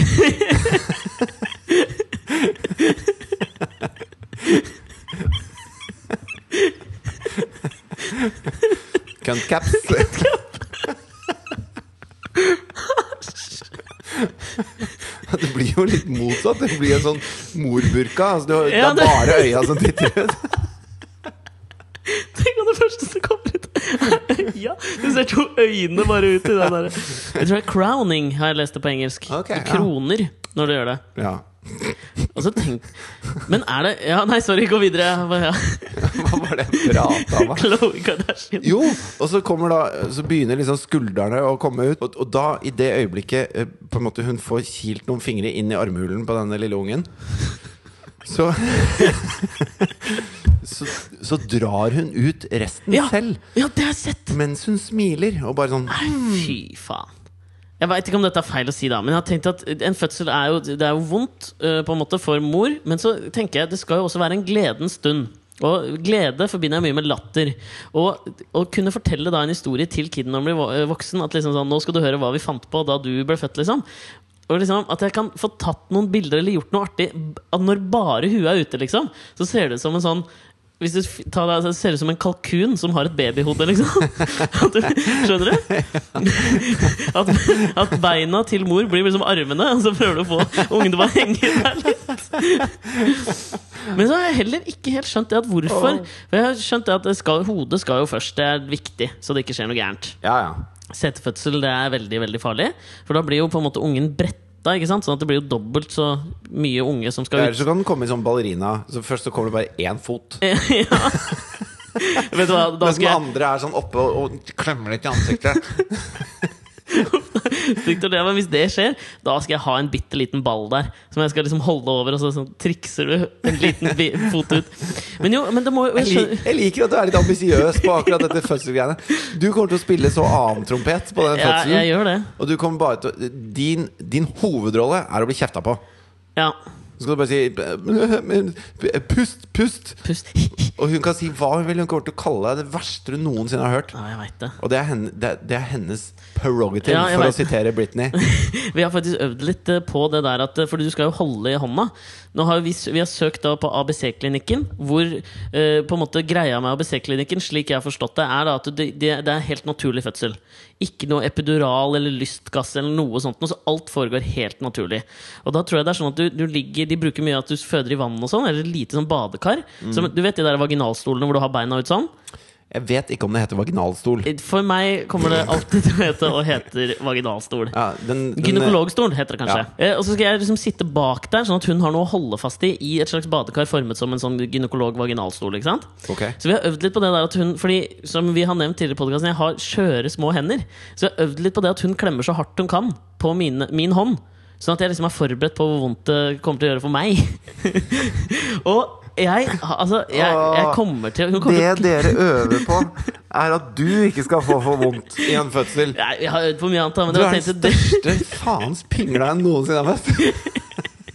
S1: Cunt caps. Det blir jo litt motsatt. Det blir en sånn morburka. Altså, du, har-
S2: Ja,
S1: det
S2: det-
S1: er bare øya som titter ut.
S2: Tenk om det første som kommer ut! ja, Du ser to øyne bare ut i den der. Jeg tror det er crowning, har jeg lest det på engelsk.
S1: Ok, ja.
S2: Kroner, når du gjør det.
S1: Ja.
S2: Og så tenk Men er det Ja, nei, sorry, gå videre. Ja.
S1: Hva var det jeg prata om? da?
S2: Khloe Kardashian.
S1: Jo, og så, kommer da, så begynner liksom skuldrene å komme ut. Og, og da, i det øyeblikket eh, på en måte hun får kilt noen fingre inn i armhulen på denne lille ungen, så så, så drar hun ut resten
S2: Ja, ja,
S1: selv
S2: det har jeg sett!
S1: mens hun smiler. Og bare sånn
S2: Fy faen. Jeg veit ikke om dette er feil å si, da men jeg har tenkt at en fødsel er jo, det er jo vondt øh, på en måte for mor. Men så tenker jeg det skal jo også være en gledens stund. Og glede forbinder jeg mye med latter. Og å kunne fortelle da en historie til kiden når han blir vo- voksen at liksom sånn, 'Nå skal du høre hva vi fant på da du ble født', liksom. Og liksom At jeg kan få tatt noen bilder eller gjort noe artig b- at når bare huet er ute, liksom. Så ser det ut som en sånn hvis du f- tar deg, så ser det ut som en kalkun som har et babyhode, liksom. At du, skjønner du? At, at beina til mor blir liksom armene, og så prøver du å få ungen til å bare henge der litt. Men så har jeg heller ikke helt skjønt det at hvorfor. For jeg har skjønt det at det skal, hodet skal jo først, det er viktig, så det ikke skjer noe gærent.
S1: Ja, ja.
S2: Setefødsel det er veldig veldig farlig, for da blir jo på en måte ungen bretta. Ikke sant? Sånn at det blir jo dobbelt så mye unge som skal ut.
S1: Eller så kan den komme i sånn ballerina. Så først så kommer det bare én fot.
S2: ja. Vet du hva, da
S1: Mens den
S2: skal
S1: andre er sånn oppe og, og klemmer litt i ansiktet.
S2: jeg Stygt å le, men hvis det skjer, da skal jeg ha en bitte liten ball der. Som jeg skal liksom holde over, og så sånn, trikser du en liten bi fot ut. Men jo, men det må jo
S1: Jeg, lik, jeg liker at du er litt ambisiøs på akkurat dette fødselsgreiene. Du kommer til å spille så annen trompet på den
S2: ja,
S1: fødselen.
S2: Jeg gjør det.
S1: Og du kommer bare til å- Din, din hovedrolle er å bli kjefta på.
S2: Ja.
S1: Så skal du bare si "Men- men- Pust, pust!
S2: Pust.
S1: Og hun kan si hva hun vil. Hun kommer til å kalle deg det verste du noensinne har hørt.
S2: Ja, jeg veit det.
S1: Og det er, henne, det, er- det er hennes prerogative,
S2: Ja, jeg
S1: for å
S2: vet.
S1: sitere Britney.
S2: Vi har faktisk øvd litt eh, på det der at eh, Fordi du skal jo holde i hånda. Nå har vi, s- vi har søkt da på ABC-klinikken, hvor eh, på en måte greia med ABC-klinikken, slik jeg har forstått det, er da at det, det, det er helt naturlig fødsel. Ikke noe epidural eller lystgass eller noe sånt. noe, Så alt foregår helt naturlig. Og da tror jeg det er sånn at du, du ligger De bruker mye at du føder i vann og sånn, eller lite sånn badekar.
S1: Mm.
S2: Som, du vet de der vaginalstolene hvor du har beina ut sånn?
S1: Jeg vet ikke om det heter vaginalstol.
S2: For meg kommer det alltid til å hete og heter vaginalstol.
S1: Ja, den, den,
S2: Gynekologstol heter det kanskje. Eh, og så skal jeg liksom sitte bak der, sånn at hun har noe å holde fast i i et slags badekar formet som en sånn gynekolog-vaginalstol. ikke sant?
S1: Ok.
S2: Så vi har øvd litt på det der at hun Fordi som vi har nevnt tidligere i podcasten, jeg har skjøre små hender. Så jeg har øvd litt på det at hun klemmer så hardt hun kan på mine, min hånd. Sånn at jeg liksom er forberedt på hvor vondt det kommer til å gjøre for meg. og jeg Altså, jeg, jeg kommer til Hun kommer til å
S3: Det dere øver på,
S1: er at du ikke skal få for vondt i en fødsel.
S2: Nei, Jeg har øvd på mye annet, da, men
S1: Du
S2: det
S1: er
S2: var
S1: den
S2: tenkt at det-
S1: største faens pingla jeg noensinne har møtt.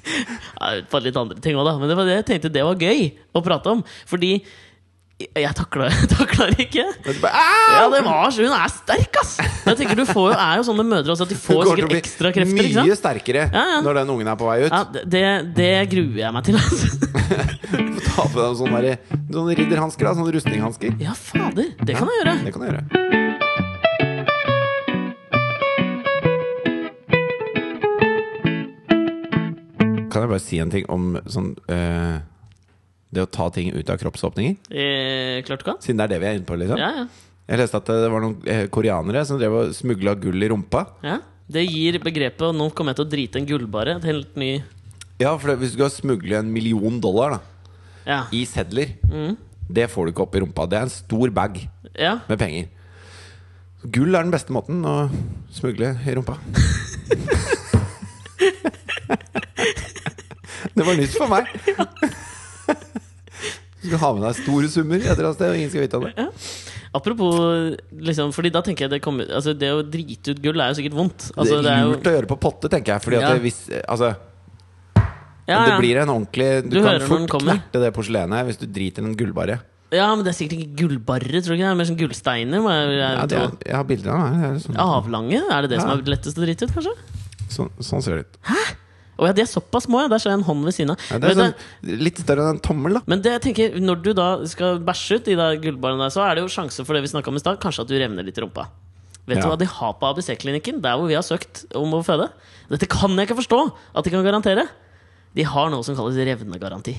S2: Ja, på litt andre ting også da Men det var det jeg tenkte det var gøy å prate om. Fordi Jeg takla jeg takla det ikke.
S1: Men du bare, «Au!»
S2: Ja, det var så, Hun er sterk, ass! Men jeg tenker du får jo, er jo sånne mødre også, at de
S1: Hun
S2: får
S1: kommer til å
S2: sikkert
S1: bli
S2: ekstra krefter. Ikke
S1: Mye
S2: sant?
S1: sterkere
S2: Ja, ja.
S1: når den ungen er på vei ut.
S2: Ja, det, det- det gruer jeg meg til, altså.
S1: Ta på deg sånne, der- sånne ridderhansker, da, sånne rustninghansker.
S2: Ja, fader. Det kan jeg gjøre.
S1: Det kan du gjøre. Kan jeg bare si en ting om sånn eh, Det å ta ting ut av kroppsåpninger?
S2: Eh, klart du kan.
S1: Siden det er det vi er inne på. liksom
S2: Ja, ja.
S1: Jeg leste at det var noen eh, koreanere som drev og smugla gull i rumpa.
S2: ja. Det gir begrepet og 'nå kommer jeg til å drite en gullbare' et helt ny
S1: Ja, for det, Hvis du skal smugle en million dollar da
S2: Ja.
S1: i sedler, det får du ikke opp i rumpa. Det er en stor bag
S2: ja.
S1: med penger. Gull er den beste måten å smugle i rumpa. det var nytt for meg. Du skal ha med deg store summer et eller annet sted, og ingen skal vite om det.
S2: Apropos liksom, Fordi da tenker jeg det kommer Altså, det å drite ut gull er jo sikkert vondt. Altså,
S1: det
S2: det er
S1: er
S2: jo
S1: lurt å gjøre på potte, tenker jeg. Fordi at
S2: Ja.
S1: det, hvis, altså,
S2: ja,
S1: det
S2: ja.
S1: blir en ordentlig Du,
S2: Du
S1: kan
S2: hører når
S1: fort
S2: den kommer.
S1: knerte det porselenet hvis du driter i en gullbarre.
S2: ja, men det er sikkert ikke gullbarre, tror du ikke det? er Mer sånn gullsteiner? må jeg- jeg
S1: Ja, det
S2: tro.
S1: er, jeg har bilder av det. det. Er sånn,
S2: Avlange? Er det det som
S1: Ja.
S2: er lettest å drite ut, kanskje?
S1: sånn, sånn ser det ut.
S2: Å ja, de er såpass små, ja. Der ser jeg en hånd ved siden av.
S1: Ja, det
S2: Vet
S1: er
S2: du-
S1: sånn, litt større enn en tommel, da.
S2: Men det jeg tenker, når du da skal bæsje ut de der gullbarene der, så er det jo sjanse for det vi snakka om i stad, kanskje at du revner litt i rumpa. Vet du
S1: Ja.
S2: hva de har på ABC-klinikken, der hvor vi har søkt om å føde? Dette kan jeg ikke forstå at de kan garantere. De har noe som kalles revnegaranti.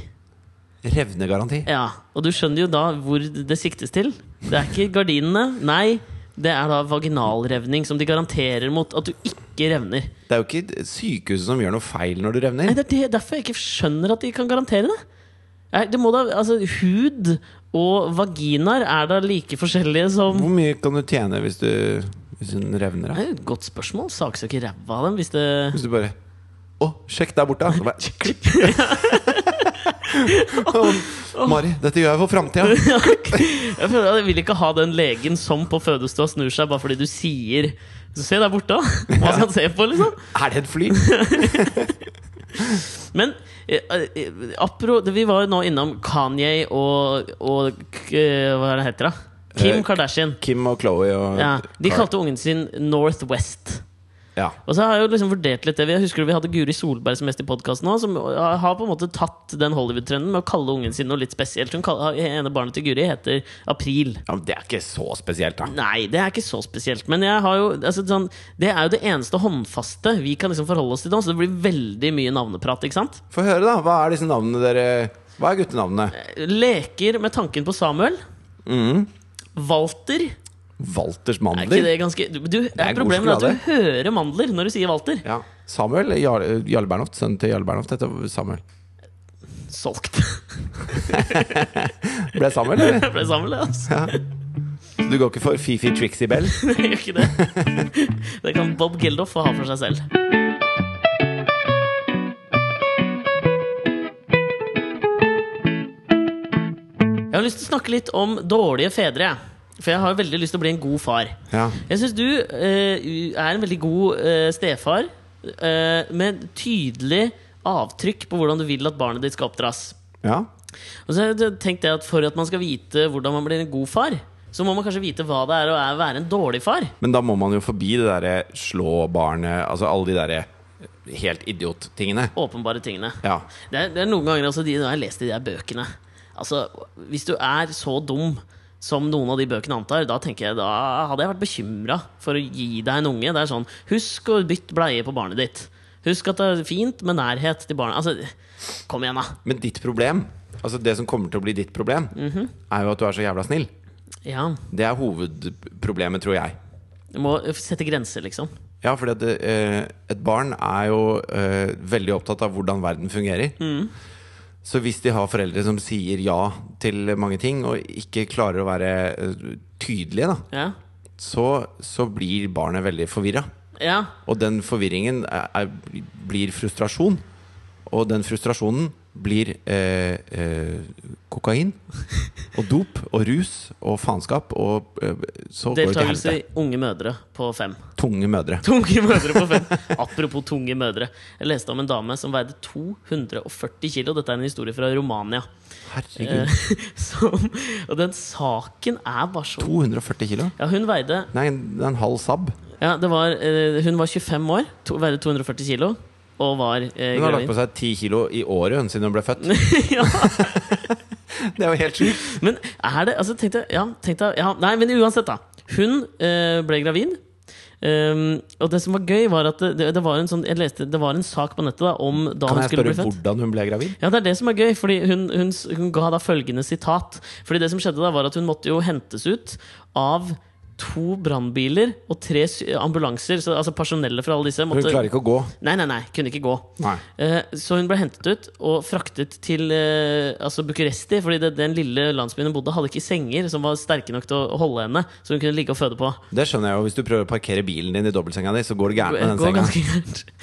S1: Revnegaranti.
S2: Ja, Og du skjønner jo da hvor det siktes til. Det er ikke gardinene. Nei, det er da vaginalrevning, som de garanterer mot at du ikke revner.
S1: Det er jo ikke sykehuset som gjør noe feil når du revner.
S2: Nei, det er det, derfor jeg ikke skjønner at de kan garantere det. Nei, det må da, altså, hud og vaginaer er da like forskjellige som
S1: Hvor mye kan du tjene hvis du Hvis hun revner?
S2: Det
S1: Da?
S2: er jo et godt spørsmål. Saksøker ræva av dem hvis det
S1: Hvis du bare Å, sjekk der borte! da». Så bare,
S2: Klipp.
S1: «Å, Mari, dette gjør jeg for framtida!
S2: Jeg føler at jeg vil ikke ha den legen som på fødestua snur seg bare fordi du sier Se der borte, da! Hva skal han se på, liksom?
S1: Er det et fly?
S2: Men eh, eh, apro, vi var jo nå innom Kanye og, og k- eh, Hva er det heter, da?
S1: Eh,
S2: Kim Kardashian.
S1: Kim og Chloé og
S2: Ja, de
S1: Kar-
S2: kalte ungen sin Northwest.
S1: ja.
S2: Og så har jeg jo liksom vurdert litt det Jeg husker vi hadde Guri Solberg som gjest i podkasten òg, som eh, har på en måte tatt den Hollywood-trenden med å kalle ungen sin noe litt spesielt. Hun kaller, eh, ene barnet til Guri heter April.
S1: ja, men Det er ikke så spesielt, da.
S2: Nei, det er ikke så spesielt. Men jeg har jo, altså, sånn, det er jo det eneste håndfaste vi kan liksom forholde oss til nå, så det blir veldig mye navneprat. ikke sant?
S1: Få høre, da. Hva er disse navnene dere Hva er guttenavnene?
S2: Leker med tanken på Samuel. Walter.
S1: Walters
S2: Er ikke
S1: Mm. mandler?
S2: det ganske du, du,
S1: er god
S2: Problemet er at
S1: sjokolade.
S2: du hører mandler når du sier Walter.
S1: Ja. Samuel Jarl Jarle Bernhoft. Sønnen til Jarle Bernhoft heter Samuel.
S2: Solgt.
S1: Ble det Samuel, eller?
S2: Jeg ble Samuel, det, altså.
S1: Ja. Så du går ikke for Fifi Trixie Bell?
S2: Jeg gjør ikke det. Det kan Bob Geldof få ha for seg selv. Jeg har lyst til å snakke litt om dårlige fedre. jeg. For jeg har veldig lyst til å bli en god far.
S1: Ja.
S2: Jeg syns du eh, er en veldig god eh, stefar eh, med tydelig avtrykk på hvordan du vil at barnet ditt skal oppdras.
S1: ja.
S2: Og så har jeg tenkt det at For at man skal vite hvordan man blir en god far, så må man kanskje vite hva det er å er- være en dårlig far.
S1: Men da må man jo forbi det derre slå barnet Altså alle de derre helt idiot-tingene.
S2: åpenbare tingene.
S1: Ja.
S2: Det, er, det er noen ganger altså, de, når jeg leser de der bøkene Altså, Hvis du er så dum som noen av de bøkene antar, da tenker jeg, da hadde jeg vært bekymra for å gi deg en unge. Det er sånn, Husk å bytte bleie på barnet ditt. Husk at det er fint med nærhet til barnet. Altså, Kom igjen, da.
S1: Men ditt problem, altså det som kommer til å bli ditt problem, er jo at du er så jævla snill.
S2: Ja,
S1: Det er hovedproblemet, tror jeg.
S2: Du må sette grenser, liksom.
S1: Ja, fordi at eh, et barn er jo eh, veldig opptatt av hvordan verden fungerer. Så hvis de har foreldre som sier ja til mange ting, og ikke klarer å være eh, tydelige, da,
S2: Ja,
S1: så, så blir barnet veldig forvirra.
S2: ja.
S1: Og den forvirringen er, er, blir frustrasjon. Og den frustrasjonen blir eh, eh, kokain og dop og rus og faenskap, og eh, så går det til
S2: Deltakelse
S1: helvete.
S2: i Unge mødre på fem.
S1: Tunge mødre.
S2: Tunge mødre på fem. Apropos tunge mødre. Jeg leste om en dame som veide 240 kilo. Dette er en historie fra Romania.
S1: Herregud.
S2: Eh, Som, og den saken er bare så
S1: 240 kilo?
S2: Ja, hun veide
S1: Nei, det er en halv sab.
S2: ja, det var, eh, Hun var 25 år, to, veide 240 kilo og var eh,
S1: Hun har lagt
S2: gravid.
S1: på seg 10 kilo i året hun siden hun ble født.
S2: ja,
S1: Det er jo helt sjukt.
S2: men er det Altså, tenk deg ja, tenk deg- ja, Nei, men uansett, da. Hun eh, ble gravid. Um, og det som var gøy, var at det, det, var en sånn, jeg leste, det var en sak på nettet da om da
S1: Kan
S2: hun
S1: jeg
S2: skulle
S1: spørre
S2: bli født.
S1: hvordan hun ble gravid?
S2: Ja, det er det som er gøy, fordi hun, hun, s- hun ga da følgende sitat. Fordi det som skjedde da, var at hun måtte jo hentes ut av to brannbiler og tre sy- ambulanser. Så, altså personellet fra alle disse
S1: Hun
S2: måtte
S1: klarer ikke å gå.
S2: Nei, nei, nei, kunne ikke gå.
S1: Nei.
S2: Eh, Så hun ble hentet ut og fraktet til eh, altså Bucuresti, fordi det, den lille landsbyen hun bodde hadde ikke senger som var sterke nok til å holde henne, så hun kunne ligge og føde på.
S1: Det skjønner jeg jo. Hvis du prøver å parkere bilen din i dobbeltsenga di, så går det gærent med den
S2: går
S1: senga.
S2: ganske gærent.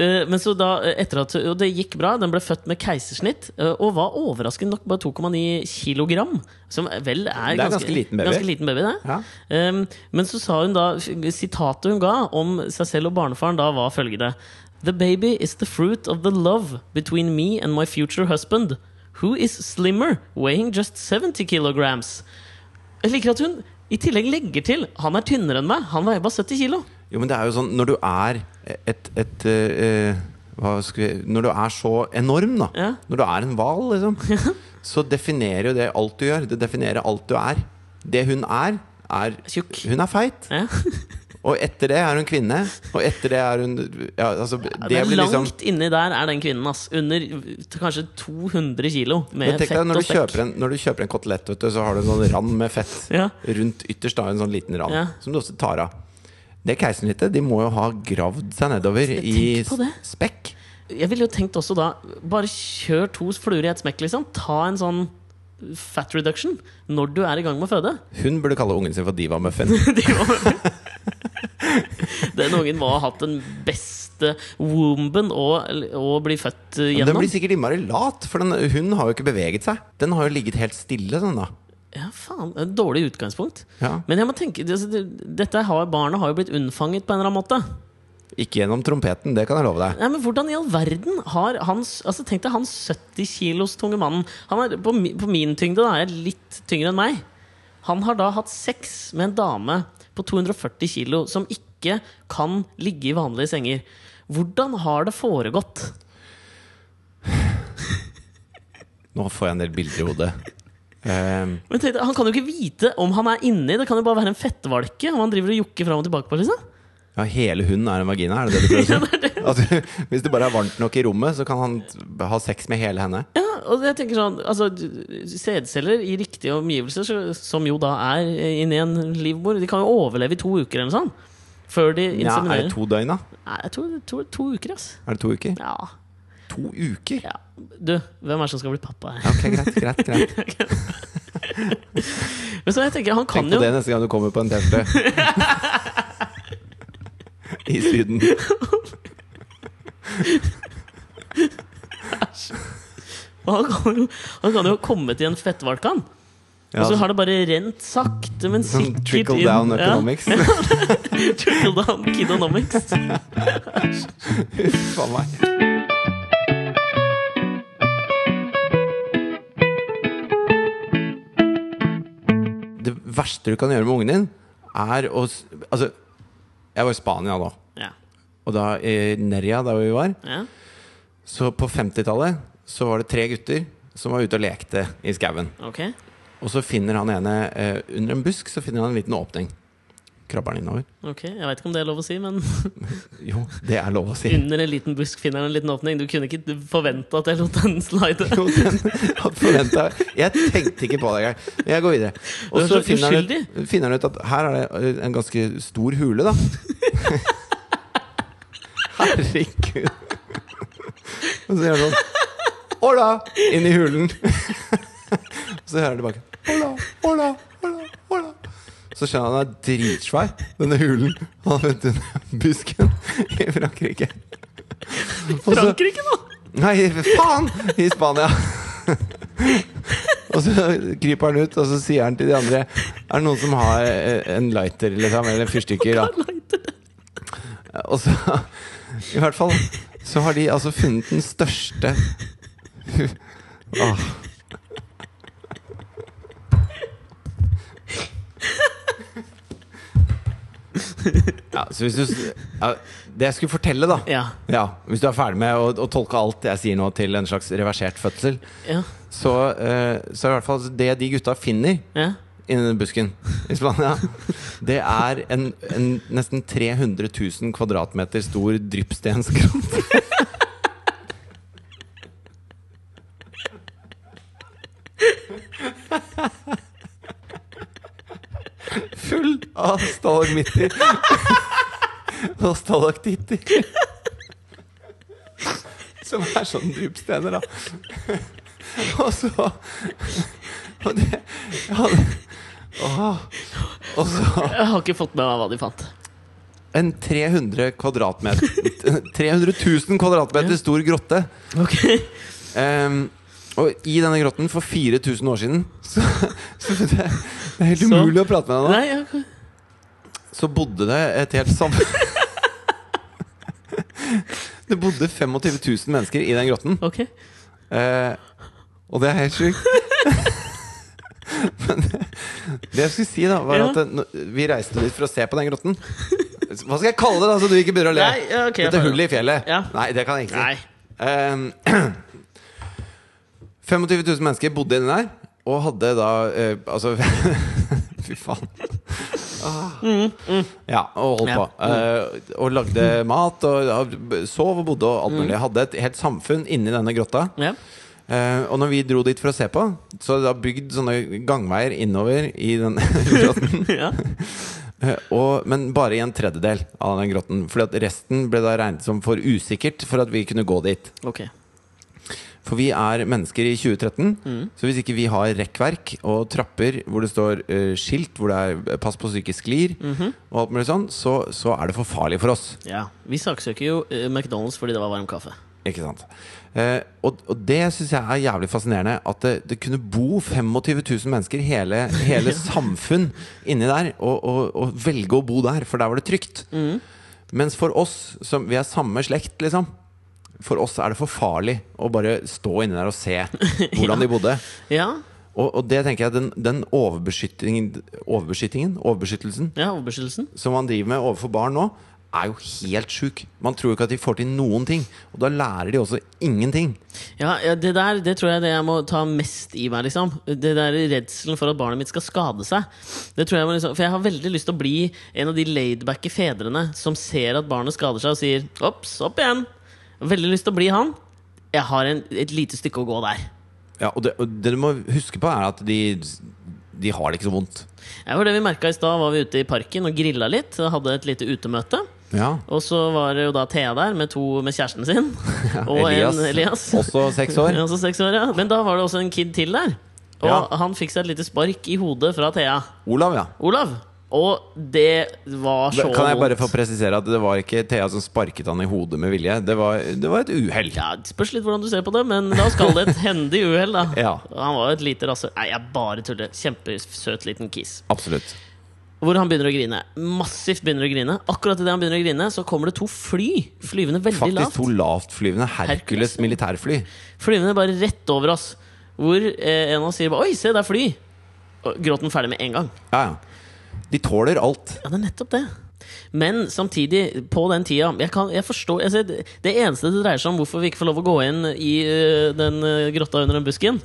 S2: Eh, Men så da, eh, etter at Og det gikk bra. Den ble født med keisersnitt eh, og var overraskende nok bare 2,9 kilogram. Som vel er,
S1: Det er ganske liten baby.
S2: Ganske liten baby det.
S1: Ja.
S2: Um, men så sa hun da Sitatet hun ga om seg selv og barnefaren da var følgende The baby is the fruit of the love between me and my future husband Who is slimmer, weighing just 70 kilograms Jeg liker at hun i tillegg legger til Han er tynnere enn meg, han veier bare 70 kilo
S1: Jo, men det er jo sånn når du er et, et eh, eh, hva skal vi, Når du er så enorm, da.
S2: Ja.
S1: Når du er en hval, liksom. Så definerer jo det alt du gjør. Det definerer alt du er. Det hun er, er
S2: Tjukk
S1: Hun er feit.
S2: ja.
S1: Og etter det er hun kvinne. Og etter det er hun ja, altså,
S2: Det,
S1: Det
S2: er
S1: blir liksom
S2: Langt inni der er den kvinnen ass. Under uh, kanskje 200 kilo Med
S1: Men tenk
S2: fett
S1: deg,
S2: og
S1: når du,
S2: spekk
S1: kjøper en, når du kjøper en kotelett, vet du, så har du en sånn rand med fett
S2: Ja.
S1: rundt ytterst. da, En sånn liten rand
S2: Ja.
S1: som du også tar av. Det keisersnittet, de må jo ha gravd seg nedover i
S2: tenk på det.
S1: spekk.
S2: Jeg ville jo tenkt også da Bare kjør to fluer i et smekk, liksom. Ta en sånn fat reduction når du er i gang med å føde.
S1: Hun burde kalle ungen sin for Diva Muffin.
S2: Det var- Den ungen må ha hatt den beste womben å, å bli født
S1: Men Den
S2: gjennom.
S1: blir sikkert innmari lat, for den, hun har jo ikke beveget seg. Den har jo ligget helt stille, sånn da.
S2: Ja, faen. Et dårlig utgangspunkt.
S1: Ja.
S2: Men jeg må tenke altså, det- dette har, Barnet har jo blitt unnfanget på en eller annen måte.
S1: Ikke gjennom trompeten, det kan jeg love deg.
S2: Nei, men Hvordan i all verden har hans Altså Tenk deg han 70 kilos tunge mannen. Han er på, mi, på min tyngde da, er litt tyngre enn meg. Han har da hatt sex med en dame på 240 kilo som ikke kan ligge i vanlige senger. Hvordan har det foregått?
S1: Nå får jeg en del bilder i hodet. Ehm,
S2: Men tenk deg, Han kan jo ikke vite om han er inni. Det kan jo bare være en fettvalke. Om han driver og jokker fram og tilbake på liksom.
S1: ja, hele hunden er en vagina, er det det du prøver å si? At du, hvis det bare er varmt nok i rommet, så kan han ha sex med hele henne.
S2: Ja, og jeg tenker sånn altså, Sædceller i riktige omgivelser, så- som jo da er inni en livmor, de kan jo overleve i to uker eller noe sånt. Før de
S1: Ja, er
S2: inseminerer.
S1: det to døgn, da?
S2: Nei, jeg tror to, to uker, ass.
S1: Er det to uker?
S2: Ja.
S1: To uker?
S2: ja. Du, hvem er det som skal bli pappa her?
S1: Ok, greit, greit, greit.
S2: Men så jeg tenker, han kan
S1: Tenk på
S2: jo
S1: det neste gang du kommer på en T-skjorte. I Syden.
S2: han kan jo, han kan jo komme til en fettvalk, han.
S1: Ja,
S2: og så har det bare rent sakte, men
S1: sånn
S2: sikkert
S1: trickle down
S2: inn-
S1: economics.
S2: Ja, trickle down kidonomics.
S1: Faen meg. Det verste du kan gjøre med ungen din, er å s- Altså, jeg var i Spania da.
S2: Ja.
S1: Og da i Nerja, der vi var,
S2: ja.
S1: så på 50-tallet så var det tre gutter som var ute og lekte i skauen.
S2: Ok.
S1: Og så finner han ene eh, under en busk så finner han en liten åpning. Krabber han innover?
S2: ok Jeg veit ikke om det er lov å si, men
S1: Jo, det er lov å si.
S2: under en liten busk finner han en liten åpning. Du kunne ikke forvente at jeg lot den slide.
S1: Jo, den hadde forventet. Jeg tenkte ikke på det engang. Men Jeg går videre. Og
S2: Du er
S1: så
S2: så
S1: finner han, ut,
S2: uskyldig.
S1: finner han ut at her er det eh, en ganske stor hule, da. Herregud. Og så gjør han sånn Hola! Inn i hulen. Så hører han tilbake. Hola, hola, hola, hola. Så skjønner han at den er dritsvær, denne hulen han har funnet under busken i Frankrike. Og så- Altså,
S2: Frankrike, nå!
S1: Nei, faen! I Spania. Og så kryper han ut, og så sier han til de andre Er det noen som har eh, en lighter liksom, eller fyrstikker? Da? Og så I hvert fall så har de altså funnet den største Åh. Ja, så hvis du s- ja, Det jeg skulle fortelle, da
S2: Ja.
S1: ja, Hvis du er ferdig med å, å tolke alt jeg sier nå til en slags reversert fødsel,
S2: Ja.
S1: så, eh, så er i hvert fall det de gutta finner
S2: ja.
S1: inni den busken i Spania, det er en, en nesten 300 000 kvadratmeter stor dryppstenskrant. Full av stalagmitter og stalaktitter. Som er sånn dryppstener, da. Og så Og det jeg hadde, Åh. Og så
S2: Jeg har ikke fått med meg hva de fant.
S1: en 300 kvadratmeter 300 000 kvadratmeter stor grotte.
S2: Ok
S1: Ehm, og i denne grotten for 4000 år siden Så, så det, det er helt
S2: Så-
S1: umulig å prate med deg nå.
S2: Nei, ja.
S1: Så bodde det et helt sam... Det bodde 25 000 mennesker i den grotten.
S2: ok
S1: Eh, og det er helt sjukt. Men det jeg skulle si, da, var
S2: Ja.
S1: at eh, nå- vi reiste dit for å se på den grotten. Hva skal jeg kalle det, da, så du ikke begynner å le?
S2: Nei, ja, ok, jeg
S1: Dette
S2: får-
S1: hullet i fjellet?
S2: Ja.
S1: Nei, det kan jeg ikke si.
S2: Nei.
S1: Eh, 25 000 mennesker bodde inni der, og hadde da eh, Altså Fy faen. Ah. Ja, og holdt
S2: Mm, Ja.
S1: på. Eh, og lagde mat, og, og sov og bodde og alt
S2: Mm.
S1: mulig. Hadde et helt samfunn inni denne grotta.
S2: Ja.
S1: Eh, og når vi dro dit for å se på, så hadde de da bygd sånne gangveier innover i den grotten.
S2: ja.
S1: Eh, og, men bare i en tredjedel av den grotten. Fordi at resten ble da regnet som for usikkert for at vi kunne gå dit.
S2: Ok.
S1: For vi er mennesker i 2013, så hvis ikke vi har rekkverk og trapper hvor det står eh, skilt hvor det er 'pass på så du ikke sklir', og alt mulig sånn, så, så er det for farlig for oss.
S2: Ja. Vi saksøker jo eh, McDonald's fordi det var varm kaffe.
S1: Ikke sant? Eh, og, og det syns jeg er jævlig fascinerende. At det, det kunne bo 25 000 mennesker, hele, hele samfunn, inni der. Og, og, og velge å bo der, for der var det trygt. Mens for oss, som vi er samme slekt, liksom. For oss er det for farlig å bare stå inni der og se hvordan de bodde.
S2: Ja.
S1: Og, og det tenker jeg, den, den overbeskyttingen, overbeskyttingen, overbeskyttelsen,
S2: ja overbeskyttelsen.
S1: som man driver med overfor barn nå, er jo helt sjuk. Man tror jo ikke at de får til noen ting. Og da lærer de også ingenting.
S2: Ja, ja, det der det tror jeg det jeg må ta mest i meg. liksom Det der Redselen for at barnet mitt skal skade seg. Det tror jeg må liksom For jeg har veldig lyst til å bli en av de laidbacke fedrene som ser at barnet skader seg og sier 'opps, opp igjen'. Veldig lyst til å bli han. Jeg har en, et lite stykke å gå der.
S1: Ja, og det, og det du må huske på, er at de, de har det ikke så vondt.
S2: Ja, for det vi merka i stad, var vi ute i parken og grilla litt. Hadde et lite utemøte.
S1: Ja.
S2: Og så var det jo da Thea der med, to, med kjæresten sin. Og
S1: Elias,
S2: en Elias.
S1: også seks år.
S2: Også seks år ja. Men da var det også en kid til der. Og
S1: Ja.
S2: han fikk seg et lite spark i hodet fra Thea.
S1: Olav, ja.
S2: Olav. Og det var så
S1: Kan jeg bare
S2: vondt.
S1: få presisere at det var ikke Thea som sparket han i hodet med vilje? Det var, det var et uhell.
S2: Ja, det Spørs litt hvordan du ser på det, men la oss kalle det et hendig uhell. da
S1: Ja.
S2: Han var jo et lite rasse... Nei, jeg bare tuller. Kjempesøt liten kiss.
S1: Absolutt.
S2: Hvor han begynner å grine. Massivt begynner å grine. Akkurat idet han begynner å grine, så kommer det to fly flyvende veldig
S1: Faktisk
S2: lavt.
S1: to lavtflyvende Hercules
S2: Hercules?
S1: militærfly.
S2: Flyvende bare rett over oss. Hvor eh, en av oss sier bare, 'oi, se, det er fly'. Og gråten ferdig med en gang.
S1: Ja, ja. De tåler alt.
S2: Ja, det er nettopp det. Men samtidig, på den tida Jeg, kan, jeg forstår altså, det, det eneste det dreier seg om hvorfor vi ikke får lov å gå inn i eh, den eh, grotta under den busken,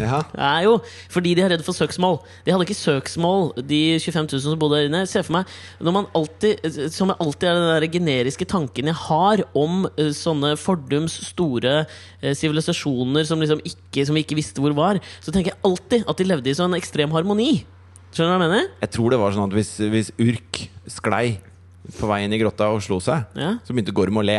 S1: Ja.
S2: er jo fordi de er redde for søksmål. De hadde ikke søksmål, de 25 000 som bodde der inne. Se for meg, når man alltid, eh, som alltid er den der generiske tanken jeg har om eh, sånne fordums store eh, sivilisasjoner som, liksom ikke, som vi ikke visste hvor var, så tenker jeg alltid at de levde i sånn ekstrem harmoni. Skjønner du hva jeg mener?
S1: Jeg tror det var sånn at hvis, hvis Urk sklei på vei inn i grotta og slo seg,
S2: Ja.
S1: så begynte Gorm å le.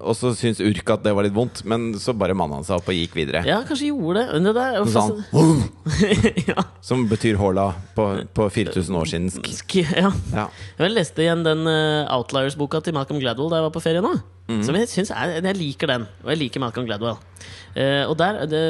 S1: Og så syntes Urk at det var litt vondt, men så bare manna han seg opp og gikk videre.
S2: Ja, kanskje gjorde det. Men det der, er jo
S1: Så sa han,
S2: fascin-
S1: «Wow!»
S2: sånn. ja.
S1: sånn.
S2: Mm.
S1: Som betyr håla på, på 4000 år siden.
S2: Sk- ja.
S1: Ja.
S2: Jeg leste igjen den eh, Outliers-boka til Malcolm Gladwell da jeg var på ferie nå.
S1: Mhm.
S2: Som jeg synes er, Jeg liker den, og jeg liker Malcolm Gladwell. Eh, og der det,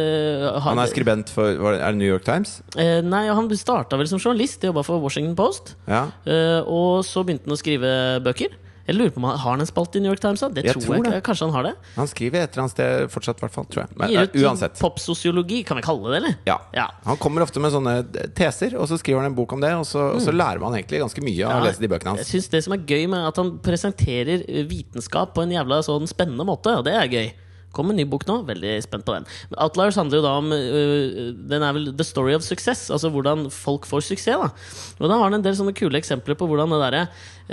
S2: har-
S1: Han er skribent for var det- Er det New York Times?
S2: Eh, nei, Han starta vel som journalist, jobba for Washington Post.
S1: Ja.
S2: Eh, og så begynte han å skrive bøker. Jeg lurer på om han Har han en spalte i New York Times? da? Det
S1: Jeg
S2: tror,
S1: tror
S2: jeg
S1: det.
S2: ikke. Kanskje han har det?
S1: Han skriver et eller annet sted fortsatt, i hvert fall. Tror jeg. Men,
S2: Gir
S1: ja,
S2: ut
S1: uansett.
S2: Popsosiologi, kan vi kalle det det? eller?
S1: Ja.
S2: Ja.
S1: Han kommer ofte med sånne teser, og så skriver han en bok om det. Og så, og så lærer man egentlig ganske mye av å lese de bøkene
S2: Mm. Jeg
S1: hans.
S2: synes Det som er gøy med at han presenterer eh, vitenskap på en jævla sånn spennende måte, og det er gøy. Kom en ny bok nå, veldig spent på den. Men Outliers handler jo da om eh, Den er vel the story of success, altså hvordan folk får suksess. da Og da har han en del sånne kule eksempler på hvordan det derre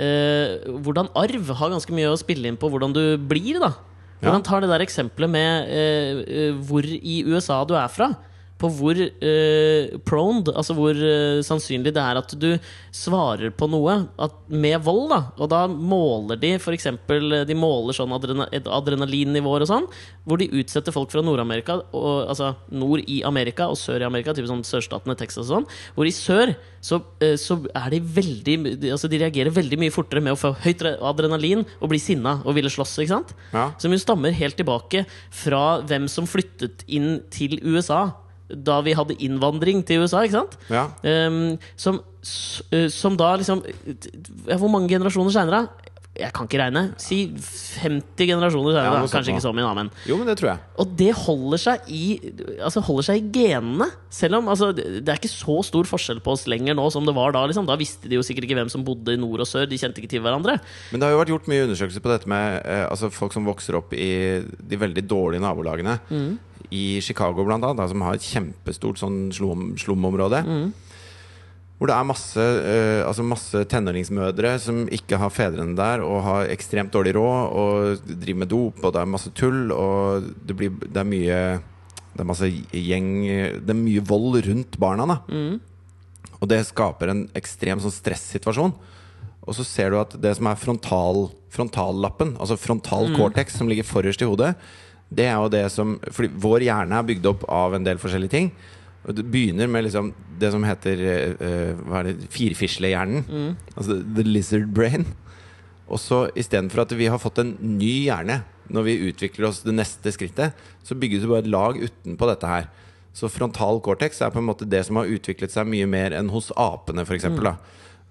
S2: eh, Hvordan arv har ganske mye å spille inn på hvordan du blir, da.
S1: Ja.
S2: Hvordan tar det der eksempelet med eh, eh, hvor i USA du er fra, på hvor eh, proned, altså hvor eh, sannsynlig det er at du svarer på noe at, med vold, da. Og da måler de f.eks. De måler sånn adrena, et adrenalinnivåer og sånn, hvor de utsetter folk fra Nord-Amerika, og- altså nord i Amerika og sør i Amerika, typ sånn sørstatene Texas og sånn, hvor i sør så, eh, så er de veldig de- Altså de reagerer veldig mye fortere med å få høyt re- adrenalin og bli sinna og ville slåss, ikke sant?
S1: Ja.
S2: Som jo stammer helt tilbake fra hvem som flyttet inn til USA da vi hadde innvandring til USA, ikke sant?
S1: Ja.
S2: Ehm, som, s- eh, som da liksom ja, Hvor mange generasjoner seinere? Jeg kan ikke regne. Si 50 generasjoner
S1: Ja,
S2: seinere.
S1: noe sånt
S2: Kanskje ikke
S1: nå.
S2: så mye, da, men
S1: Jo, men det tror jeg.
S2: og det holder seg i, altså holder seg i genene. Selv om altså, Det det er ikke så stor forskjell på oss lenger nå som det var da. Liksom. Da visste de jo sikkert ikke hvem som bodde i nord og sør. De kjente ikke til hverandre.
S1: Men det har jo vært gjort mye undersøkelser på dette med eh, altså folk som vokser opp i de veldig dårlige nabolagene. I Chicago, blant annet, da, som har et kjempestort sånn slum, slumområde. Hvor det er masse, eh, altså masse tenåringsmødre som ikke har fedrene der, og har ekstremt dårlig råd, og driver med dop, og det er masse tull, og det, blir, det er mye det er masse gjeng Det er mye vold rundt barna. da Og det skaper en ekstrem sånn stressituasjon. Og så ser du at det som er frontal, frontallappen, altså frontal cortex, som ligger forrest i hodet, det er jo det som Fordi vår hjerne er bygd opp av en del forskjellige ting. Og det begynner med liksom det som heter eh, eh, Hva er det? firfislehjernen. Altså the lizard brain. Og så istedenfor at vi har fått en ny hjerne når vi utvikler oss det neste skrittet, så bygges det bare et lag utenpå dette her. Så frontal cortex er på en måte det som har utviklet seg mye mer enn hos apene, f.eks.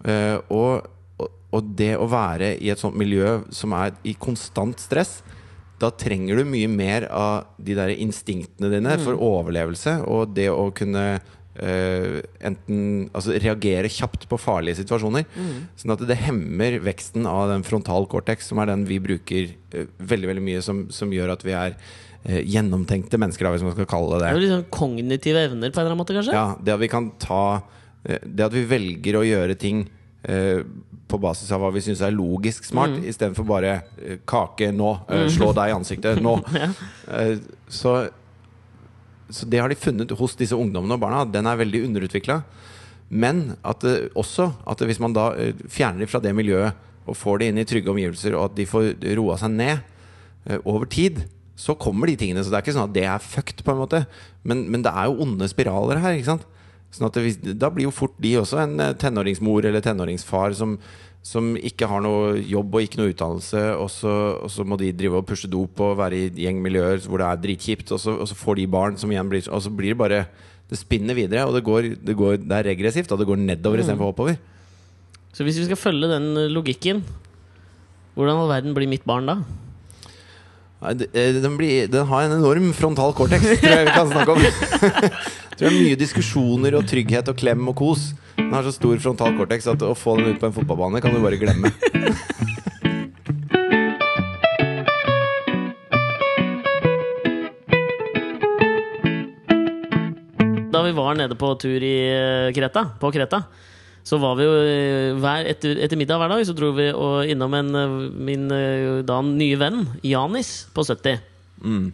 S1: Uh, og, og- og det å være i et sånt miljø som er i konstant stress, da trenger du mye mer av de der instinktene dine for overlevelse og det å kunne eh, enten altså reagere kjapt på farlige situasjoner. Sånn at det hemmer veksten av den frontal cortex, som er den vi bruker eh, veldig veldig mye, som, som gjør at vi er eh, gjennomtenkte mennesker, da, hvis man skal kalle det
S2: Det er
S1: det.
S2: jo liksom Kognitive evner, på en eller annen måte, kanskje?
S1: Ja, det at vi kan ta eh, Det at vi velger å gjøre ting eh, på basis av hva vi syns er logisk smart, istedenfor bare eh, kake nå, eh, slå deg i ansiktet nå. Eh, Så, så det har de funnet hos disse ungdommene og barna. at Den er veldig underutvikla. Men at det, også at hvis man da eh, fjerner de fra det miljøet og får de inn i trygge omgivelser, og at de får roa seg ned eh, over tid, så kommer de tingene. Så det er ikke sånn at det er fucked, på en måte. Men, men det er jo onde spiraler her. ikke sant? Sånn at det, hvis- Da blir jo fort de også en eh, tenåringsmor eller tenåringsfar som, som ikke har noe jobb og ikke noe utdannelse, og så, og så må de drive og pushe dop og være i gjengmiljøer hvor det er dritkjipt, og så, og så får de barn som igjen blir Og så blir det bare Det spinner videre, og det, går, det, går, det er regressivt, og det går nedover istedenfor oppover.
S2: Så hvis vi skal følge den eh, logikken, hvordan i all verden blir mitt barn da?
S1: Nei, det- eh, Den, blir, den har en enorm frontal cortex, tror jeg vi kan snakke om. tror det er mye diskusjoner og trygghet og klem og kos. Den har så stor frontal cortex at å få den ut på en fotballbane kan du bare glemme.
S2: Da vi var nede på tur i eh, Kreta, på Kreta så var vi jo eh, hver, etter, etter middag hver dag så dro vi og innom en, eh, min eh, da nye venn, Janis, på 70.
S1: Mm.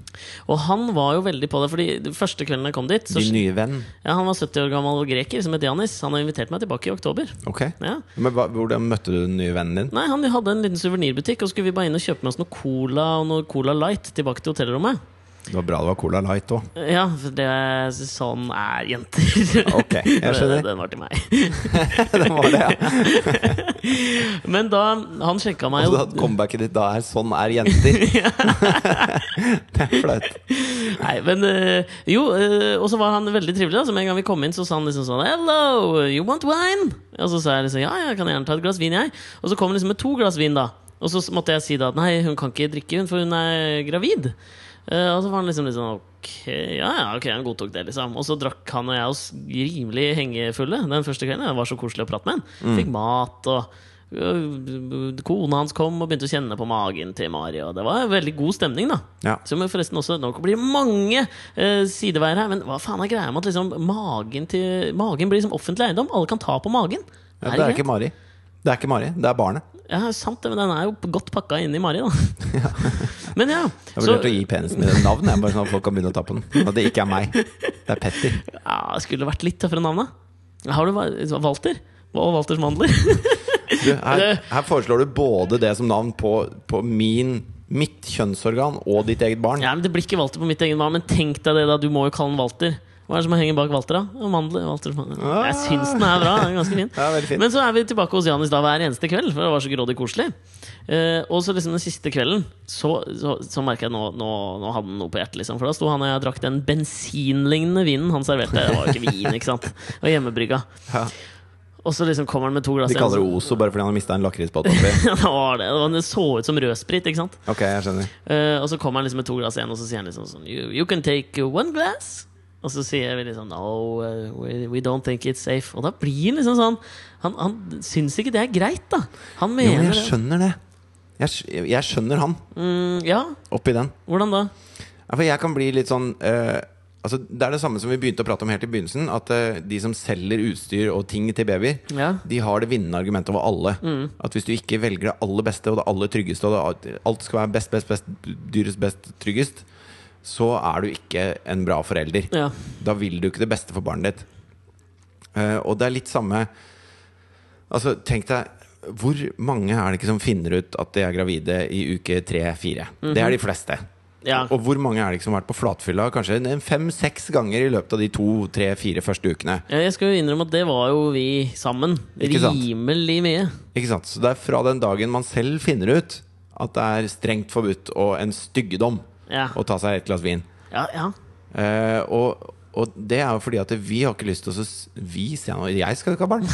S2: Og han var jo veldig på det, Fordi den første kvelden jeg kom dit så,
S1: Din nye venn.
S2: ja, Han var 70 år gammel greker som het Janis. Han har invitert meg tilbake i oktober.
S1: Ok.
S2: Ja.
S1: Men hva, hvordan møtte du den nye vennen din?
S2: Nei, Han hadde en liten suvenirbutikk, og så skulle vi bare inn og kjøpe med oss noe cola og noe Cola Light tilbake til hotellrommet.
S1: Det var bra det var Cola Light òg.
S2: Ja, for det, sånn er jenter.
S1: Ok, jeg skjønner.
S2: Den var til meg.
S1: det var det, ja.
S2: Men da Han sjekka
S1: Og
S2: meg jo
S1: Altså, da, comebacket ditt da er 'sånn er jenter'. det er flaut.
S2: Nei, men eh, Jo, eh, og så var han veldig trivelig. da Så med en gang vi kom inn, så sa han liksom sånn Hello, you want wine? Og så sa jeg liksom ja, jeg kan gjerne ta et glass vin, jeg. Og så kom han liksom med to glass vin, da. Og så måtte jeg si da at nei, hun kan ikke drikke, hun, for hun er gravid. Eh, og så var han liksom litt sånn ok, ja ja, ok, han godtok det, liksom. Og så drakk han og jeg oss rimelig hengefulle den første kvelden. Det var så koselig å prate med han. Fikk mat og øh, Kona hans kom og begynte å kjenne på magen til Mari, og det var veldig god stemning, da.
S1: Ja.
S2: Som jo forresten også Nå blir det mange eh, sideveier her, men hva faen er greia med at liksom magen, til, magen blir liksom offentlig eiendom? Alle kan ta på magen.
S1: Ja,
S2: Er
S1: det er
S2: greit?
S1: ikke Mari. Det er ikke Mari, det er barnet.
S2: Ja, sant det, men den er jo godt pakka inn i Mari, da. Men ja,
S1: Jeg
S2: så
S1: vurderte å gi penisen min et navn, jeg, bare sånn at folk kan begynne å ta på den. Og det ikke er meg. Det er Petter.
S2: ja, skulle det vært litt tøffere navn, da. Har du va- Walter? Og Walters mandler?
S1: Du, her, her foreslår du både det som navn på, på min, mitt kjønnsorgan og ditt eget barn.
S2: Ja, men Det blir ikke Walter på mitt eget navn, men tenk deg det, da. Du må jo kalle den Walter. Hva er det som henger bak Walter, da? Ja, Mandler, Walter, mandler. Jeg syns den er bra. Den er ganske fin.
S1: Ja, veldig fin.
S2: Men så er vi tilbake hos Janis da hver eneste kveld, for det var så grådig koselig. Eh, og så liksom den siste kvelden så, så, så merka jeg nå, nå, nå hadde han noe på hjertet, liksom. For da sto han og jeg og drakk den bensinlignende vinen han serverte. Det var jo ikke vin, ikke sant. Det var hjemmebrygga.
S1: Ja.
S2: Og så liksom kommer han med to glass
S1: De kaller det Ozo bare fordi han har mista en lakrisbåt oppi.
S2: Ja, det var det. Det var- Det så ut som rødsprit, ikke sant.
S1: Ok, jeg skjønner.
S2: Eh, og så kommer han liksom med to glass igjen, og så sier han liksom sånn You, you can take one glass. Og så sier vi liksom No, eh, we, we don't think it's safe. Og da blir han liksom sånn Han, han syns ikke det er greit, da. Han
S1: Jo, men
S2: mener
S1: jeg
S2: det.
S1: skjønner det. Jeg, skj- jeg skjønner han
S2: Mm, ja,
S1: oppi den.
S2: hvordan da?
S1: Ja, for jeg kan bli litt sånn eh, altså, Det er det samme som vi begynte å prate om helt i begynnelsen. At eh, de som selger utstyr og ting til babyer,
S2: Ja.
S1: de har det vinnende argumentet over alle.
S2: Mm.
S1: At hvis du ikke velger det aller beste og det aller tryggeste, og det, alt skal være best, best, best, dyrest, best, tryggest, så er du ikke en bra forelder.
S2: Ja.
S1: Da vil du ikke det beste for barnet ditt. Eh, og det er litt samme Altså, tenk deg Hvor mange er det ikke som finner ut at de er gravide i uke tre-fire? Det er de fleste.
S2: Mhm. Ja.
S1: Og hvor mange er det ikke som har vært på flatfylla kanskje en- en fem-seks ganger i løpet av de to-tre-fire første ukene?
S2: Ja, Jeg skal jo innrømme at det var jo vi sammen.
S1: Ikke sant?
S2: Rimelig mye.
S1: Ikke sant? Så det er fra den dagen man selv finner ut at det er strengt forbudt og en styggedom
S2: Ja.
S1: å ta seg et glass vin.
S2: Ja, ja.
S1: Eh, og, og det er jo fordi at vi har ikke lyst til å s- Vi, sier jeg nå. Jeg skal ikke ha barn.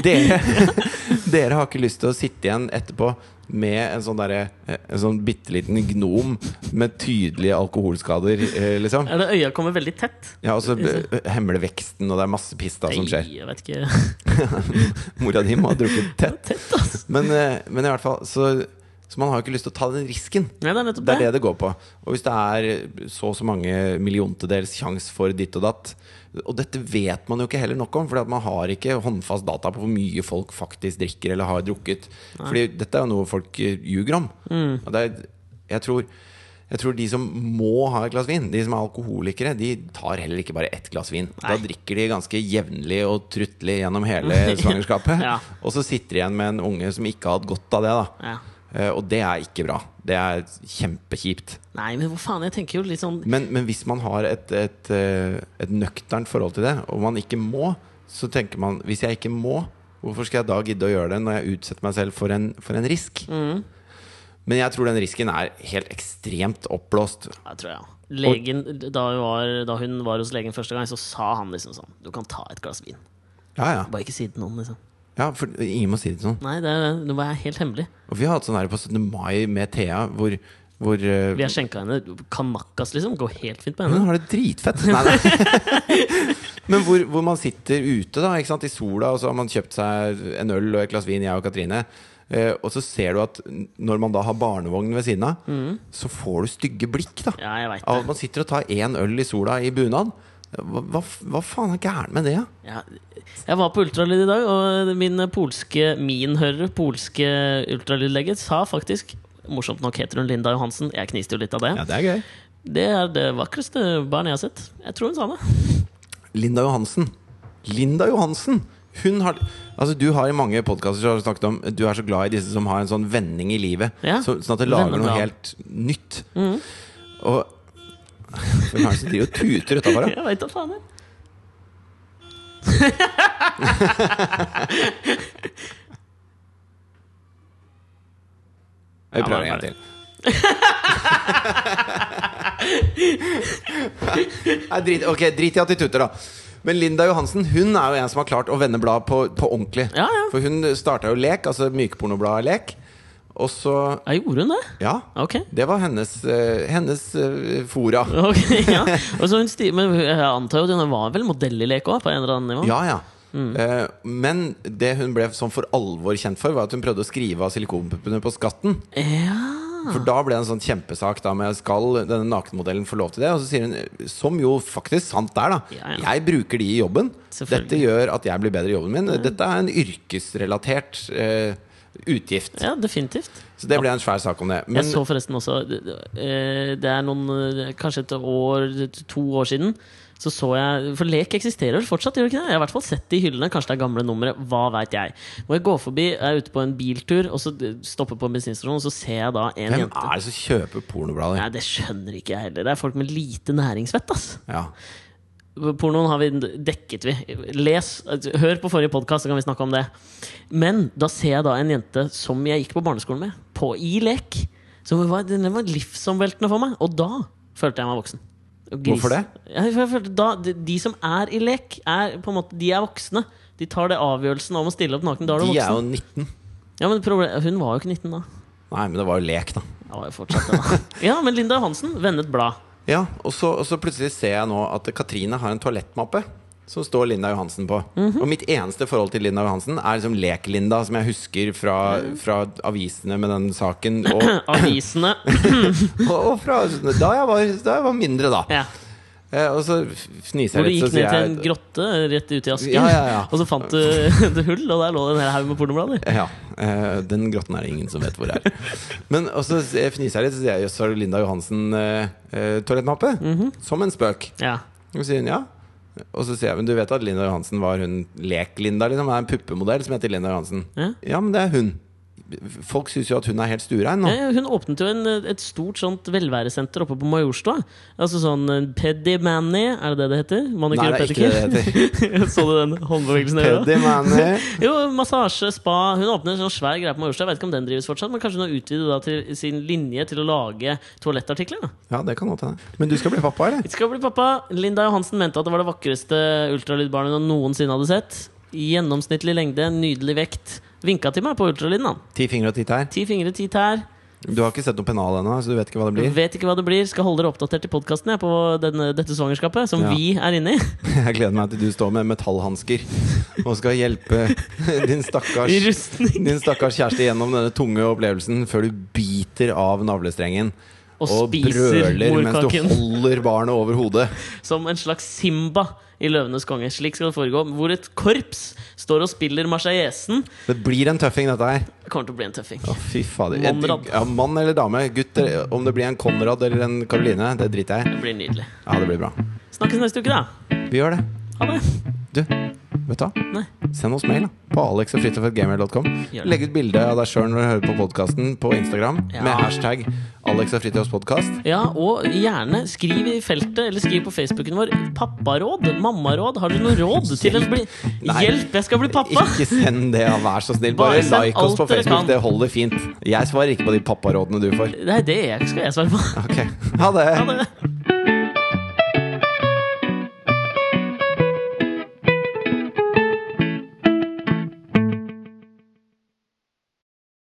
S1: Dere, dere har ikke lyst til å sitte igjen etterpå med en sånn, derre- en sånn bitte liten gnom med tydelige alkoholskader, eh, liksom.
S2: Ja, det Øya kommer veldig tett.
S1: Ja, og så eh, hemmer det veksten, og det er masse piss da som
S2: Nei,
S1: skjer.
S2: jeg vet ikke.
S1: Mora di må ha drukket tett.
S2: Tett, altså.
S1: Men, eh, men i hvert fall, så, så man har jo ikke lyst til å ta den risken.
S2: Nei, det er nettopp
S1: Det er
S2: det.
S1: det det går på. Og hvis det er så og så mange milliontedels sjanse for ditt og datt Og dette vet man jo ikke heller nok om, for man har ikke håndfast data på hvor mye folk faktisk drikker eller har drukket. Fordi dette er jo noe folk eh, ljuger om.
S2: Mm.
S1: Og det er, jeg, tror, jeg tror de som må ha et glass vin, de som er alkoholikere, de tar heller ikke bare ett glass vin. Da drikker de ganske jevnlig og truttelig gjennom hele svangerskapet.
S2: Ja.
S1: Og så sitter de igjen med en unge som ikke har hatt godt av det. da
S2: Ja.
S1: Eh, Og det er ikke bra. Det er kjempekjipt.
S2: Nei, men hva faen? Jeg tenker jo litt sånn
S1: Men, men hvis man har et, et, eh, et nøkternt forhold til det, og man ikke må, så tenker man Hvis jeg ikke må, hvorfor skal jeg da gidde å gjøre det når jeg utsetter meg selv for en, for en risk? Men jeg tror den risken er helt ekstremt oppblåst.
S2: Ja, tror jeg. ja. Legen, da, hun var, da hun var hos legen første gang, så sa han liksom sånn Du kan ta et glass vin.
S1: Ja, ja.
S2: Bare ikke si det til noen, liksom.
S1: ja for ingen må si det sånn.
S2: Nei, det, er- det var helt hemmelig.
S1: Og vi har hatt sånn her på 17. mai med Thea, hvor, hvor eh,
S2: Vi har skjenka henne kanakkas, liksom. Går helt fint på
S1: Men
S2: henne.
S1: Hun har det dritfett. Nei, nei. Men hvor, hvor man sitter ute da, ikke sant? i sola, og så har man kjøpt seg en øl og et glass vin, jeg og Katrine. Eh, og så ser du at n- når man da har barnevogn ved siden av, så får du stygge blikk. da
S2: Ja, jeg veit
S1: Av
S2: det.
S1: at man sitter og tar én øl i sola i bunad. Hva, hva, f- hva faen er gærent med det? da?
S2: Ja. Jeg var på ultralyd i dag, og min polske min hører, polske ultralydlege, sa faktisk Morsomt nok heter hun Linda Johansen. Jeg kniste jo litt av det.
S1: Ja, det er gøy.
S2: Det er det vakreste barnet jeg har sett. Jeg tror hun sa det.
S1: Linda Johansen. Linda Johansen! Hun har Altså Du har i mange podkaster snakket om Du er så glad i disse som har en sånn vending i livet.
S2: Ja.
S1: Så, sånn at det lager noe
S2: Venneblad.
S1: helt nytt.
S2: Mm.
S1: Og Hvem er det som driver og tuter utafor?
S2: Jeg vet da faen. jeg.
S1: Vi
S2: Ja,
S1: prøver
S2: bare-
S1: en til. Nei, drit, ok, drit i at de tuter, da. Men Linda Johansen hun er jo en som har klart å vende bladet på, på ordentlig.
S2: Ja, ja.
S1: For hun starta jo Lek, altså mykpornobladet Lek. Og så
S2: Ja, gjorde hun det?
S1: Ja.
S2: Ok.
S1: Det var hennes, eh, hennes eh, fora.
S2: Ok, ja Og så hun sti Men jeg antar jo at hun var vel modell i lek òg, på en eller annen nivå?
S1: Ja, ja.
S2: Mm.
S1: Eh, men det hun ble sånn for alvor kjent for, var at hun prøvde å skrive av silikonpuppene på skatten.
S2: Ja.
S1: For da ble det en sånn kjempesak da med skal denne nakenmodellen få lov til det? Og så sier hun, som jo faktisk sant er, da.
S2: Ja, ja.
S1: Jeg bruker de i jobben.
S2: Selvfølgelig.
S1: Dette gjør at jeg blir bedre i jobben min. Dette er en yrkesrelatert eh, utgift.
S2: ja, definitivt.
S1: Så det ble en svær sak om det.
S2: Jeg
S1: Men
S2: så forresten også eh, Det er noen eh, Kanskje et år, to år siden. Så så jeg, For lek eksisterer vel fortsatt? gjør det ikke det? Jeg har i hvert fall sett det i hyllene. Kanskje det er gamle numre. Hva veit jeg. Når jeg går forbi, er ute på en biltur, og så eh, stopper på en bensinstasjon, og så ser jeg da en
S1: hvem
S2: jente
S1: er det som kjøper pornoblader?
S2: Nei, Det skjønner ikke jeg heller. Det er folk med lite næringsvett. ass
S1: Ja.
S2: Pornoen har vi dekket vi. Les, hør på forrige podkast, så kan vi snakke om det. Men da ser jeg da en jente som jeg gikk på barneskolen med, på i lek. Som var, den var livsomveltende for meg. Og da følte jeg meg voksen. Og gris.
S1: Hvorfor det?
S2: Ja, for jeg følte da, de, de som er i lek, er på en måte, de er voksne. De tar det avgjørelsen om å stille opp naken. Da er du
S1: De er jo
S2: voksen.
S1: 19.
S2: Ja, men problem, hun var jo ikke 19 da.
S1: Nei, men det var jo lek, da.
S2: Jeg var jo fortsatt det, da. Ja, men Linda Johansen vendet blad.
S1: Ja, og så, og så plutselig ser jeg nå at Katrine har en toalettmappe som står Linda Johansen på.
S2: Mhm.
S1: Og mitt eneste forhold til Linda Johansen er liksom Lek-Linda, som jeg husker fra,
S2: Mhm.
S1: fra avisene med den saken. Og,
S2: Avisene.
S1: og, og fra da jeg, var, da jeg var mindre, da.
S2: Ja.
S1: Eh, og så fniser
S2: Hvor du
S1: jeg litt, så
S2: gikk ned
S1: sier
S2: til en
S1: jeg
S2: grotte rett ut i asken,
S1: Ja, ja, ja.
S2: og så fant du et hull, og der lå det en hel haug med pornoblader.
S1: ja, eh, den grotten er det ingen som vet hvor er. Men og så s- jeg fniser jeg litt, så sier jeg jøss, har du Linda Johansen eh, eh, toalettmappe?
S2: Mhm.
S1: Som en spøk.
S2: Ja.
S1: Og så sier hun ja. Og så sier jeg, men du vet at Linda Johansen var hun lek-Linda? liksom, er en puppemodell som heter Linda Johansen.
S2: Ja.
S1: men det er hun. Folk syns jo at hun er helt sturein nå.
S2: Eh, Hun åpnet jo en, et stort sånt velværesenter oppe på Majorstua. Altså sånn eh, Peddy Manny, er det det det heter?
S1: Nei,
S2: Manikyr og
S1: det er ikke
S2: pedikyr?
S1: det det heter.
S2: Så du den håndbevegelsen jeg gjorde?
S1: Teddy Manny.
S2: Jo, massasje, spa Hun åpner en sånn svær greie på Majorstua. Jeg vet ikke om den drives fortsatt, men kanskje hun har utvidet da til sin linje til å lage toalettartikler? da
S1: Ja, det kan godt hende. Men du skal bli pappa, eller?
S2: Det skal bli pappa. Linda Johansen mente at det var det vakreste ultralydbarnet hun noensinne hadde sett. Gjennomsnittlig lengde, nydelig vekt. Vinka til meg på ultralyden. han.
S1: Ti fingre og ti tær.
S2: Ti fingre, ti tær.
S1: Du har ikke sett noe pennal ennå, så du vet ikke hva det blir.
S2: Vet ikke hva det blir. Skal holde dere oppdatert i podkasten på denne, dette svangerskapet, som
S1: Ja.
S2: vi er inne i.
S1: Jeg gleder meg til du står med metallhansker og skal hjelpe din
S2: I
S1: stakkars
S2: rustning.
S1: Din stakkars kjæreste gjennom denne tunge opplevelsen før du biter av navlestrengen.
S2: Og
S1: og
S2: spiser
S1: brøler mens du
S2: morkaken
S1: holder barnet over hodet.
S2: som en slags Simba i 'Løvenes konge'. Slik skal det foregå. Hvor et korps står og spiller marseillaisen.
S1: Det blir en tøffing, dette her.
S2: Det Kommer til å bli en tøffing.
S1: Å, fy fader.
S2: Konrad.
S1: Ja, mann eller dame. Gutter, om det blir en Konrad eller en Karoline, det driter jeg i.
S2: Det blir nydelig.
S1: Ja, det blir bra.
S2: Snakkes neste uke, da.
S1: Vi gjør det.
S2: Ha det.
S1: Du, vet du hva?
S2: Nei.
S1: Send oss mail da på alexogfritjofetgamer.com.
S2: Gjør det.
S1: Legg ut bilde av deg sjøl når du hører på podkasten på Instagram
S2: Ja.
S1: med hashtag alexogfritjofspodkast.
S2: Ja, og gjerne skriv i feltet, eller skriv på Facebooken vår, papparåd, mammaråd. Har du noe råd til å bli
S1: Nei.
S2: Hjelp, jeg skal bli pappa!
S1: Ikke send det, ja, vær så snill.
S2: Bare
S1: Bare
S2: send
S1: like oss
S2: alt
S1: på
S2: dere kan.
S1: Facebook, det holder fint. Jeg svarer ikke på de papparådene du får.
S2: Det er det jeg skal jeg svare på.
S1: Ok, ha det.
S2: Ha det.